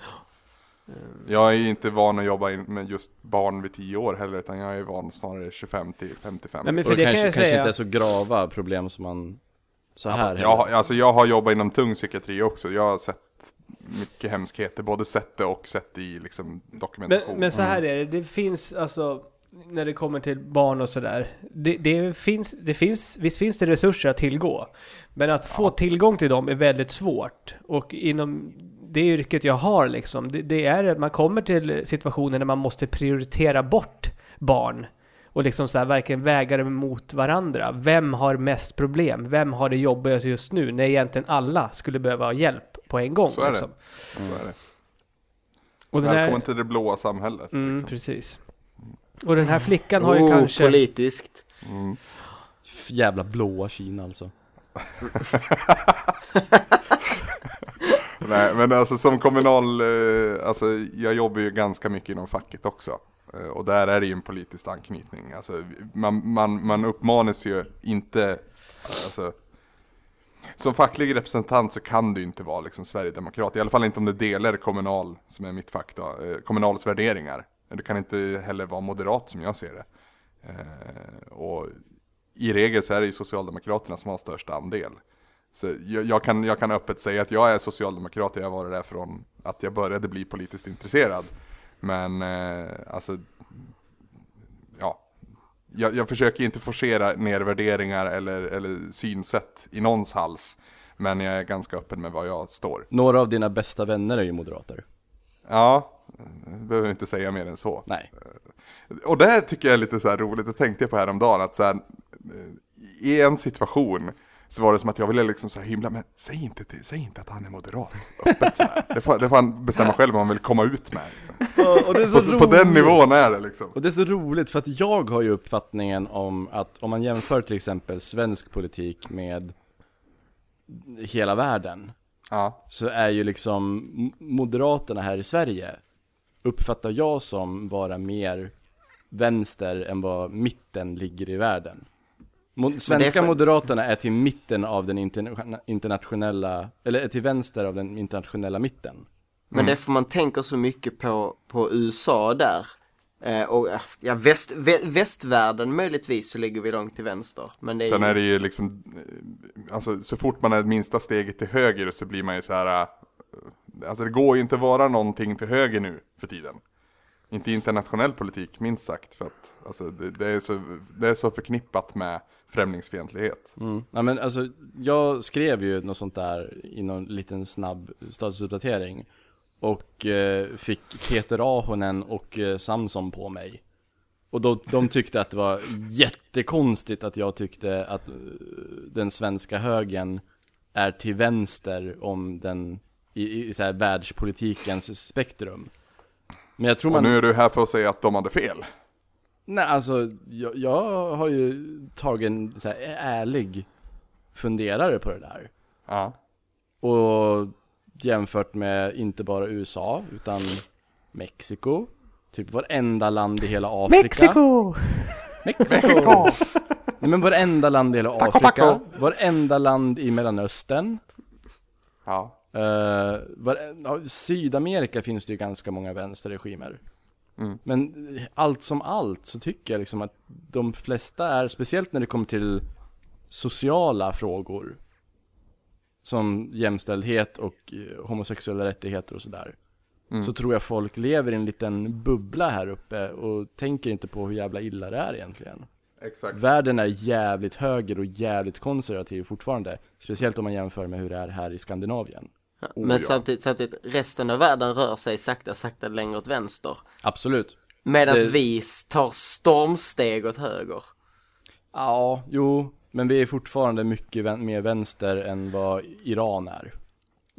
S1: Jag är ju inte van att jobba in med just barn vid 10 år heller, utan jag är van snarare 25 till 55.
S2: Nej, men
S4: Och
S2: för det
S4: det kanske,
S2: kan jag
S4: kanske
S2: säga.
S4: inte är så grava problem som man så här
S1: jag, har- alltså, jag har jobbat inom tung psykiatri också, jag har sett mycket hemskheter, både sett det och sett i liksom,
S2: Men,
S1: dokumentation.
S2: men så här är det, det finns alltså när det kommer till barn och sådär. Det, det finns, det finns, visst finns det resurser att tillgå. Men att få tillgång till dem är väldigt svårt. Och inom det yrket jag har liksom, det, det är att man kommer till situationer där man måste prioritera bort barn. Och liksom så här verkligen väga dem mot varandra. Vem har mest problem? Vem har det jobbigast just nu? När egentligen alla skulle behöva ha hjälp på en gång.
S1: Så är det.
S2: liksom.
S1: Så är det.
S2: Och den här-
S1: Välkommen till det blåa samhället.
S2: Mm,
S1: liksom.
S2: precis. Och den här flickan har ju
S3: Oh,
S2: kanske...
S3: politiskt.
S1: Mm.
S4: F- Jävla blåa Kina alltså.
S1: Nej, men alltså som kommunal, eh, alltså jag jobbar ju ganska mycket inom facket också. Eh, Och där är det ju en politisk anknytning. Alltså man, man, man uppmanas ju inte, alltså som facklig representant så kan du inte vara liksom sverigedemokrat. I alla fall inte om du delar kommunal, som är mitt fack då, eh, kommunals värderingar. Du kan inte heller vara moderat som jag ser det. Eh, Och i regel så är det ju Socialdemokraterna som har störst andel. Så jag, jag, kan, jag kan öppet säga att jag är socialdemokrat, jag har varit där från att jag började bli politiskt intresserad. Men eh, alltså, ja. Jag, jag försöker inte forcera ner värderingar eller, eller synsätt i någons hals. Men jag är ganska öppen med vad jag står.
S4: Några av dina bästa vänner är ju moderater.
S1: Ja, eh, behöver inte säga mer än så.
S4: Nej.
S1: Och det här tycker jag är lite så här roligt, det tänkte jag på häromdagen att så här, eh, i en situation så var det som att jag ville liksom så här himla, men säg inte, till, säg inte att han är moderat öppet så här. Det, får, det får han bestämma själv vad han vill komma ut med. Liksom.
S4: Och, och det är så
S1: På, på den nivån är det liksom.
S4: Och det är så roligt för att jag har ju uppfattningen om att om man jämför till exempel svensk politik med hela världen
S1: Ja,
S4: så är ju liksom m- Moderaterna här i Sverige uppfattar jag som vara mer vänster än vad mitten ligger i världen. Mo- Svenska
S3: för-
S4: Moderaterna är till mitten av den interna- internationella, eller är till vänster av den internationella mitten.
S3: Men
S1: Mm.
S3: det är för man tänker så mycket på, på USA där. Eh, och eh, ja, väst, vä, västvärlden möjligtvis så ligger vi långt till vänster. Men det är,
S1: sen
S3: ju-
S1: är det ju liksom, eh, alltså så fort man är det minsta steget till höger så blir man ju så här, eh, alltså det går ju inte att vara någonting till höger nu för tiden. Inte internationell politik, minst sagt, för att alltså, det, det, är så, det är så förknippat med främlingsfientlighet.
S4: Ja, men alltså, jag skrev ju något sånt där i någon liten snabb statusuppdatering och eh, fick Peter Ahonen och eh, Samson på mig. Och då, de tyckte att det var jättekonstigt att jag tyckte att eh, den svenska högern är till vänster om den i, i, i så här världspolitikens spektrum. Men jag tror
S1: Och
S4: man...
S1: nu är du här för att säga att de hade fel.
S4: Nej, alltså jag, jag har ju tagit en så här ärlig funderare på det där.
S1: Ja.
S4: Och jämfört med inte bara USA utan Mexiko. Typ varenda land i hela Afrika.
S2: Mexiko!
S4: Mexiko! Nej men varenda land i hela
S1: Taco,
S4: Afrika.
S1: taco.
S4: Varenda land i Mellanöstern.
S1: Ja.
S4: Uh, var, ja, Sydamerika finns det ju ganska många vänsterregimer.
S1: Mm.
S4: Men allt som allt så tycker jag liksom att de flesta är, speciellt när det kommer till sociala frågor. Som jämställdhet och eh, homosexuella rättigheter och sådär. Så tror jag folk lever i en liten bubbla här uppe och tänker inte på hur jävla illa det är egentligen.
S1: Exakt.
S4: Världen är jävligt höger och jävligt konservativ fortfarande. Speciellt om man jämför med hur det är här i Skandinavien.
S3: ja,
S1: oh,
S3: men
S1: ja.
S3: samtidigt, samtidigt, resten av världen rör sig sakta, sakta längre åt vänster.
S4: Absolut.
S3: Medan
S4: Det-
S3: vi tar stormsteg åt höger.
S4: Ja, jo, men vi är fortfarande mycket vän- mer vänster än vad Iran är.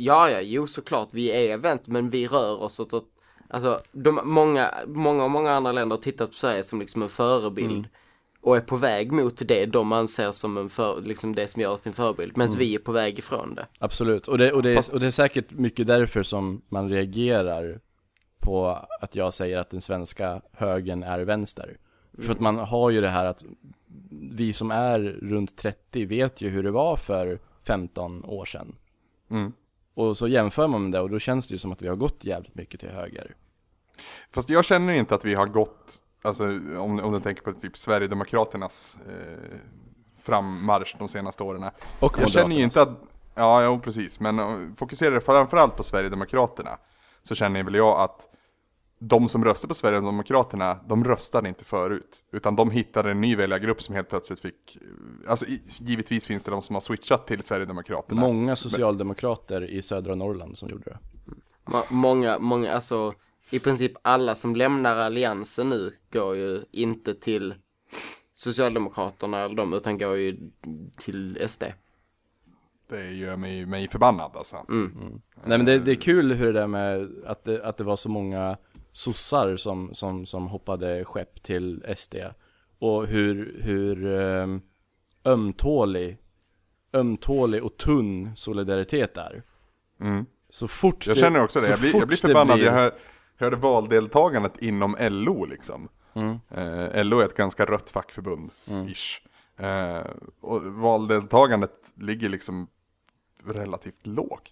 S3: Ja, ja, jo såklart, vi är vänt, men vi rör oss åt, åt alltså, de, många, många, många andra länder har tittat på Sverige som liksom en förebild. Och är på väg mot det de anser som en för, liksom det som gör oss till en förebild, medan vi är på väg ifrån det.
S4: Absolut, och det, och, det är, och det är säkert mycket därför som man reagerar på att jag säger att den svenska högen är vänster. För
S1: Mm.
S4: att man har ju det här att vi som är runt 30 vet ju hur det var för 15 år sedan.
S1: Mm.
S4: Och så jämför man med det och då känns det ju som att vi har gått jävligt mycket till höger.
S1: Fast jag känner inte att vi har gått, alltså om, om du tänker på typ Sverigedemokraternas eh, frammarsch de senaste åren.
S4: Och
S1: Jag känner ju
S4: Moderaternas.
S1: inte att, ja jo, precis, men eh, fokuserar jag framförallt på Sverigedemokraterna så känner väl jag att de som röstade på Sverigedemokraterna, de röstade inte förut. Utan de hittade en ny väljargrupp som helt plötsligt fick, eh, alltså i- givetvis finns det de som har switchat till Sverigedemokraterna.
S4: Många socialdemokrater i södra Norrland som gjorde det.
S3: Ma- många, många, alltså i princip alla som lämnar alliansen nu går ju inte till Socialdemokraterna eller dem, utan går ju till SD.
S1: Det gör mig, mig förbannad alltså.
S4: Nej men det, det är kul hur det där med att det, att det var så många sossar som, som, som hoppade skepp till SD. Och hur, hur ehm, ömtålig, ömtålig och tunn solidaritet är.
S1: Mm.
S4: Så fort
S1: Jag
S4: det-
S1: känner också det,
S4: så
S1: jag blir,
S4: fort
S1: jag blir
S4: det
S1: förbannad.
S4: blir-
S1: Jag hör, hörde valdeltagandet inom LO liksom.
S4: Mm.
S1: Eh, LO är ett ganska rött fackförbund, ish. Eh, och valdeltagandet ligger liksom relativt lågt.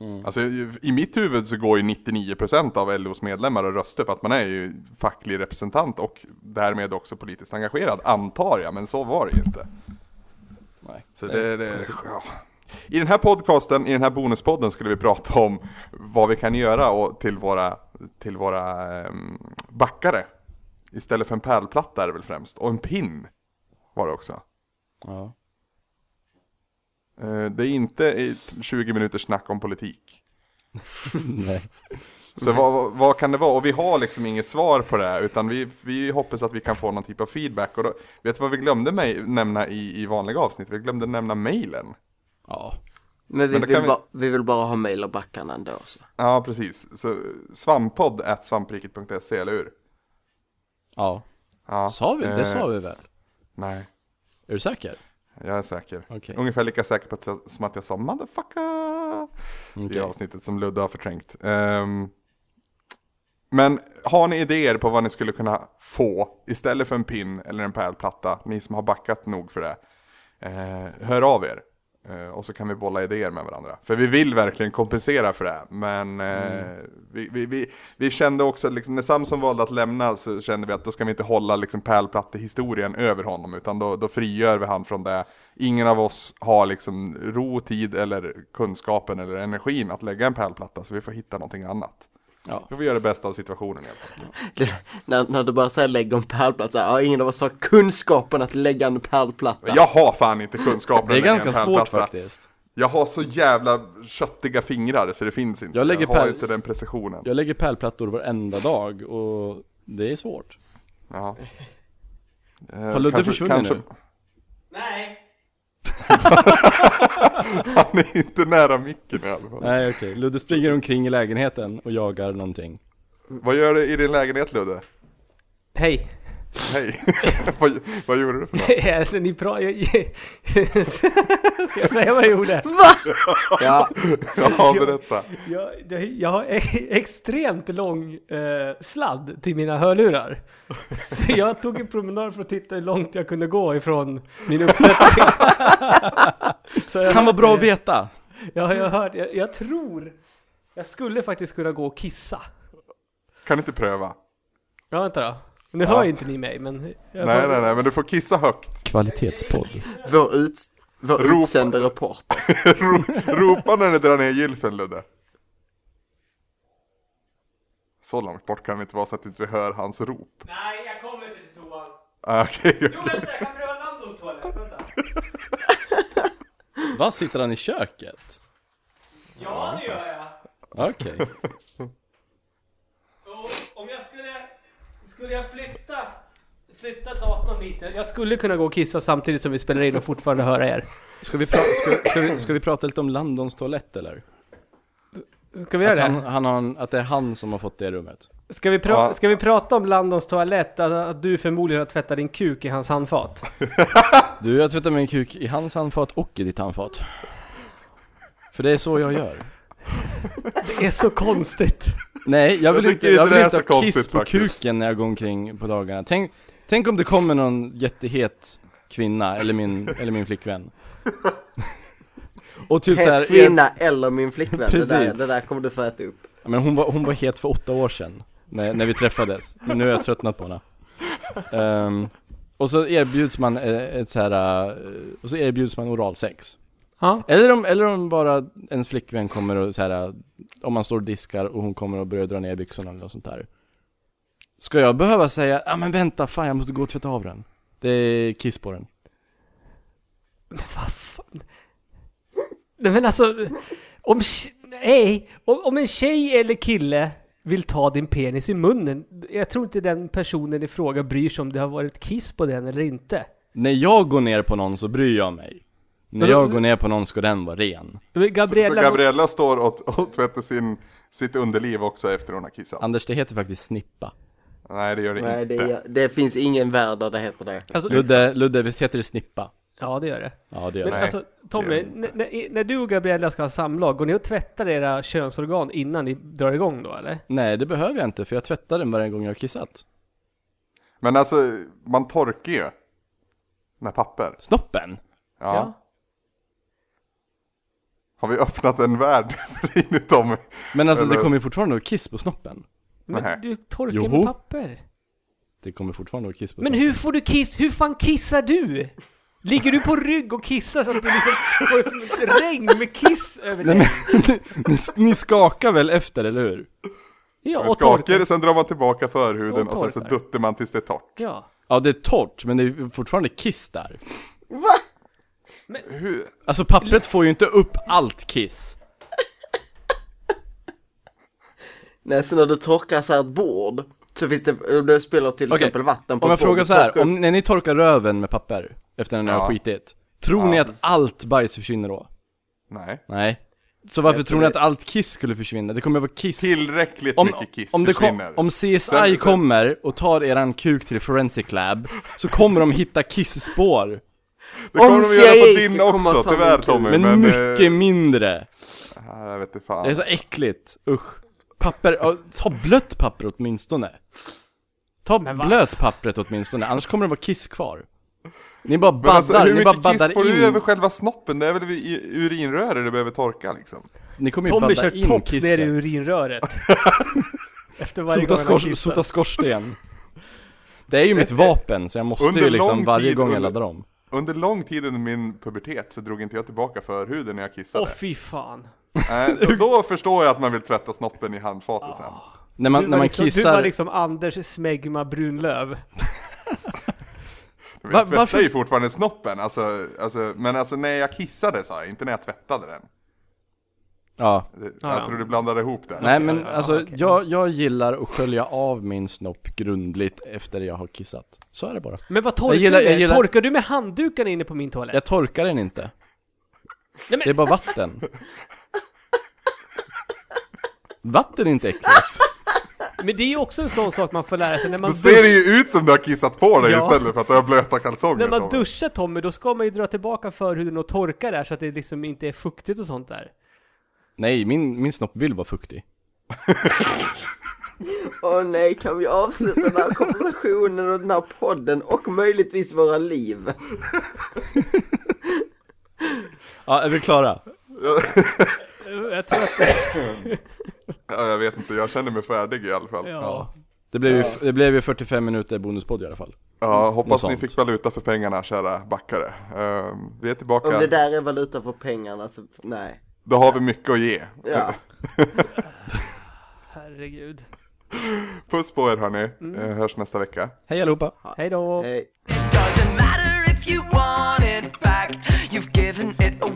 S4: Mm.
S1: Alltså i mitt huvud så går ju 99% av LOs medlemmar och röster för att man är ju facklig representant och därmed också politiskt engagerad, antar jag, men så var det ju inte.
S4: Nej.
S1: Så det, det, ja. I den här podcasten, i den här bonuspodden skulle vi prata om vad vi kan göra och till våra, till våra ehm, backare. Istället för en pärlplatta är det väl främst, och en pin var det också.
S4: Ja.
S1: Eh, Det är inte i t- 20 minuters snack om politik.
S4: Nej.
S1: Så vad, vad- vad kan det vara? Och vi har liksom inget svar på det här, utan vi, vi hoppas att vi kan få någon typ av feedback. Och då, vet du vad vi glömde mig, nämna i, i vanliga avsnitt? Vi glömde nämna mailen.
S4: Ja.
S3: Men vi,
S1: Men då
S3: vill,
S1: kan vi-
S3: Bara, vi vill bara ha mail och backarna ändå så.
S1: Ja, precis. Så svamppodd at svampriket.se, eller hur?
S4: Ja.
S1: Ja.
S4: Sa vi?
S1: Eh,
S4: Det sa vi väl?
S1: Nej,
S4: Är du säker?
S1: jag är säker.
S4: Okej.
S1: Ungefär lika säker på att jag, som att jag sa motherfucker i
S4: Okej.
S1: avsnittet som Ludde har förträngt. Ehm, men har ni idéer på vad ni skulle kunna få istället för en pin eller en pärlplatta, ni som har backat nog för det, eh, hör av er. Eh, och så kan vi bolla idéer med varandra. För vi vill verkligen kompensera för det, men eh,
S4: Mm.
S1: vi, vi, vi, vi kände också, liksom, när Samson valde att lämna så kände vi att då ska vi inte hålla liksom, pärlplattehistorien över honom, utan då, då frigör vi han från det. Ingen av oss har liksom, ro, tid eller kunskapen eller energin att lägga en pärlplatta, så vi får hitta någonting annat.
S4: Ja.
S1: Vi får göra det bästa av situationen i alla fall.
S3: Det, när, när du bara säger lägg en pärlplatta, så här, ja ingen av oss har kunskapen att lägga en pärlplatta.
S1: Jag har fan inte kunskapen
S4: Det är
S1: att lägga en
S4: ganska svårt
S1: pärlplatta.
S4: faktiskt.
S1: Jag har så jävla köttiga fingrar så det finns inte.
S4: Jag lägger
S1: har
S4: pärl-
S1: inte den precisionen.
S4: Jag lägger pärlplattor varenda dag och det är svårt.
S1: Ja.
S4: Har Ludde försvunnit nu?
S2: Nej!
S1: Han är inte nära micken i alla fall.
S4: Nej okej, Ludde springer omkring i lägenheten och jagar någonting.
S1: Vad gör du i din lägenhet Ludde?
S2: Hej!
S1: Hej. vad, vad gjorde du för något?
S2: Alltså, Ni pra- Ska jag säga vad jag gjorde?
S3: Ja,
S1: Ja, berätta.
S2: Jag, jag, jag har e- extremt lång eh, sladd till mina hörlurar. Så jag tog en promenad för att titta hur långt jag kunde gå ifrån min uppsättning. Så jag,
S4: Kan vara bra att veta!
S2: jag, jag, hört, jag, jag tror, jag skulle faktiskt kunna gå och kissa.
S1: Kan inte pröva.
S2: Ja, vänta då. Nu hör ju inte ni mig, men... Jag
S1: Nej, nej, nej, men du får kissa högt.
S4: Kvalitetspodd.
S3: vår, ut, vår
S1: Ropa.
S3: utsände reporter.
S1: Ro, ropa när du drar ner gylfen Ludde. Så långt bort kan det inte vara så att du inte hör hans rop.
S2: Nej, jag kommer inte till toan.
S1: Ah, Okej, okej.
S2: vänta, jag kan pröva Nandos toalett. Vänta.
S4: Vad sitter han i köket?
S2: Ja, det gör jag.
S4: Okej.
S2: Och om jag skulle, skulle jag flytta, flytta datorn lite? Jag skulle kunna gå och kissa samtidigt som vi spelar in och fortfarande höra er.
S4: Ska, vi pra- ska, ska, vi, ska vi prata lite om Landons toalett eller?
S2: Ska vi göra det?
S4: Att, han, han har en, att det är han som har fått det rummet.
S2: Ska, vi pra-
S1: Ja.
S2: ska vi prata om Landons toalett? Att, att du förmodligen har tvättat din kuk i hans handfat?
S4: Du, jag tvättar min kuk i hans handfat och i ditt handfat. För det är så jag gör.
S2: Det är så konstigt.
S4: Nej, jag vill
S1: Jag
S4: inte,
S1: tycker
S4: jag
S1: inte
S4: vill
S1: det är
S4: inte
S1: så
S4: ha kiss
S1: konstigt
S4: på
S1: faktiskt.
S4: kuken när jag går omkring på dagarna. Tänk, tänk om det kommer någon jättehet kvinna, eller min, eller min flickvän. Och typ såhär,
S3: Het kvinna eller min flickvän, det där,
S4: Precis.
S3: det där kommer du få äta upp.
S4: men hon var, hon var het för åtta år sedan, när, när vi träffades. Men nu har jag tröttnat på henne. Ehm, och så erbjuds man eh, ett så här, eh, och så erbjuds man oralsex.
S2: Ja.
S4: Eller om, eller om bara ens flickvän kommer och så här, om man står och diskar och hon kommer och börjar dra ner byxorna eller något sånt där. Ska jag behöva säga, ja ah, men vänta, fan jag måste gå och tvätta av den. Det är kiss på den.
S2: Nej, men alltså, om, tje- nej, om, om en tjej eller kille vill ta din penis i munnen, jag tror inte den personen i fråga bryr sig om det har varit kiss på den eller inte.
S4: När jag går ner på någon så bryr jag mig. När
S2: Men-
S4: jag går ner på någon ska den vara ren.
S2: Men
S1: Så, så
S2: Gabriella,
S1: Gabriella står och, och tvättar sin, sitt underliv också efter hon har kissat.
S4: Anders, det heter faktiskt snippa.
S1: Nej, det gör det
S3: Nej,
S1: inte.
S3: det, det finns ingen värld där det heter det.
S2: alltså,
S4: Ludde, Ludde, visst heter det snippa?
S2: Ja, det gör det.
S4: Ja det gör
S2: Men
S4: det.
S1: Nej,
S2: alltså
S1: det gör
S2: Tommy,
S1: det
S2: när, när- när du och Gabriella ska ha samlag, går ni och tvättar era könsorgan innan ni drar igång då eller?
S4: Nej det behöver jag inte för jag tvättar den varje gång jag har kissat.
S1: Men alltså, man torkar ju. Med papper.
S4: Snoppen?
S1: Ja. Har vi öppnat en värld för dig nu Tommy?
S4: Men alltså det
S1: Eller-
S4: kommer ju fortfarande att kiss på snoppen.
S2: Men
S1: Nej.
S2: du torkar
S4: Joho.
S2: med papper.
S4: Det kommer fortfarande att kiss på
S2: Men
S4: snoppen.
S2: hur får du kiss? Hur fan kissar du? Ligger du på rygg och kissar så att du liksom får ett sånt regn med kiss över dig?
S4: Nej, men, ni, ni skakar väl efter eller hur?
S2: Ja,
S1: Man
S2: och
S1: skakar det,
S2: torkar.
S1: sen drar man tillbaka förhuden
S2: Och
S1: och, sen så
S2: torkar.
S1: duttar man tills det är torrt.
S2: Ja.
S4: Ja det är torrt men det är fortfarande kiss där.
S3: Va?
S1: Hur?
S4: Alltså pappret får ju inte upp allt kiss.
S3: Nej, så när du torkar så här ett bord så finns det, om du spiller till
S4: Okej,
S3: exempel vatten på
S4: Om jag
S3: ett bord,
S4: frågar
S3: du
S4: så här,
S3: torkar upp-
S4: om, när ni torkar röven med papper efter när ni
S1: Ja.
S4: har skitit, tror ni
S1: Ja.
S4: att allt bajs försvinner då?
S1: Nej.
S4: Nej. Så varför
S3: Jag
S4: tror ni att
S3: tror-
S4: allt kiss skulle försvinna? Det kommer vara kiss.
S1: Tillräckligt
S4: om,
S1: mycket kiss
S4: om, det kom,
S1: försvinner.
S4: om CSI
S1: sen-
S4: kommer och tar eran kuk till Forensic Lab, så kommer de hitta kissspår.
S1: det kommer
S3: om
S1: de göra på
S3: CIA
S1: din
S3: skulle komma
S1: också,
S3: och ta min
S1: tyvärr
S3: kul.
S1: Tommy.
S4: Men,
S1: Men,
S4: mycket
S1: eh,
S4: mindre.
S1: ja, jag vet inte
S4: Det är
S1: fan.
S4: så äckligt, usch. Papper, ja, ta blött papper åtminstone. Ta
S2: va?
S4: blöt pappret åtminstone, annars kommer det vara kiss kvar. Ni bara
S1: Men
S4: baddar,
S1: alltså, hur
S4: ni bara
S1: mycket
S4: baddar
S1: kiss får du över
S4: in.
S1: själva snoppen? Det är väl i- i- urinröret du behöver torka liksom?
S4: Ni kommer ju
S2: Tommy
S4: badda
S2: kör
S4: in
S2: tops ner
S4: kisset.
S2: i urinröret. Efter varje
S4: Sota,
S2: gång han har
S4: skor,
S2: kissat.
S4: sota skorsten. Det är ju mitt vapen, så jag måste
S1: Under
S4: ju
S1: lång
S4: liksom varje
S1: tid
S4: gång jag
S1: under-
S4: laddar om.
S1: Under lång tid under min pubertet så drog inte jag tillbaka förhuden när jag kissade.
S2: Åh fy fan.
S1: Nej, då, då förstår jag att man vill tvätta snoppen i handfatet sen.
S4: När man,
S2: du,
S4: när
S2: var
S4: man
S2: liksom, du
S4: kissar...
S2: var liksom Anders Smegma Brunlöv.
S1: Men
S4: Va-
S1: jag tvättar
S4: varför-
S1: ju fortfarande snoppen, alltså, alltså, men alltså när jag kissade sa jag, inte när jag tvättade den.
S4: Ja.
S1: Det-
S2: Ah,
S1: jag
S2: ja.
S1: tror du blandade ihop det.
S4: Nej men
S2: ja,
S4: alltså,
S2: okej.
S4: jag, jag gillar att skölja av min snopp grundligt efter jag har kissat. Så är det bara.
S2: Men vad torkar
S4: gillar-
S2: du
S4: jag
S2: med?
S4: gillar-
S2: Torkar du med handdukarna inne på min toalett?
S4: Jag torkar den inte.
S2: Nej, men-
S4: Det är bara vatten. Vatten är inte äckligt.
S2: Men det är ju också en sån sak man får lära sig när man
S1: Då ser
S2: duschar.
S1: det ju ut som du har kissat på dig
S2: Ja.
S1: istället för att du har blöta kalsonger
S2: När man
S1: Tommy.
S2: duschar Tommy, då ska man ju dra tillbaka förhuden och torka där så att det liksom inte är fuktigt och sånt där.
S4: Nej, min, min snopp vill vara fuktig.
S3: Åh nej, kan vi avsluta den här konversationen och den här podden och möjligtvis våra liv?
S4: Ja, är vi klara?
S2: Jag tror att det,
S1: Ja, jag vet inte, jag känner mig färdig i alla fall. Ja,
S2: ja.
S4: Det blev ju, det blev ju 45 minuter bonuspodd i alla fall. Något
S1: hoppas ni
S4: sånt.
S1: fick valuta för pengarna kära backare. Ehm, vi är tillbaka,
S3: Om det där är valuta för pengarna så nej.
S1: då har vi mycket att ge.
S3: Ja.
S2: Herregud.
S1: Puss på er hörni,
S2: Mm.
S1: Eh, hörs nästa vecka.
S4: Hej allihopa!
S2: Hej då.
S3: Hej.
S5: Doesn't matter if you want it back, you've given it away.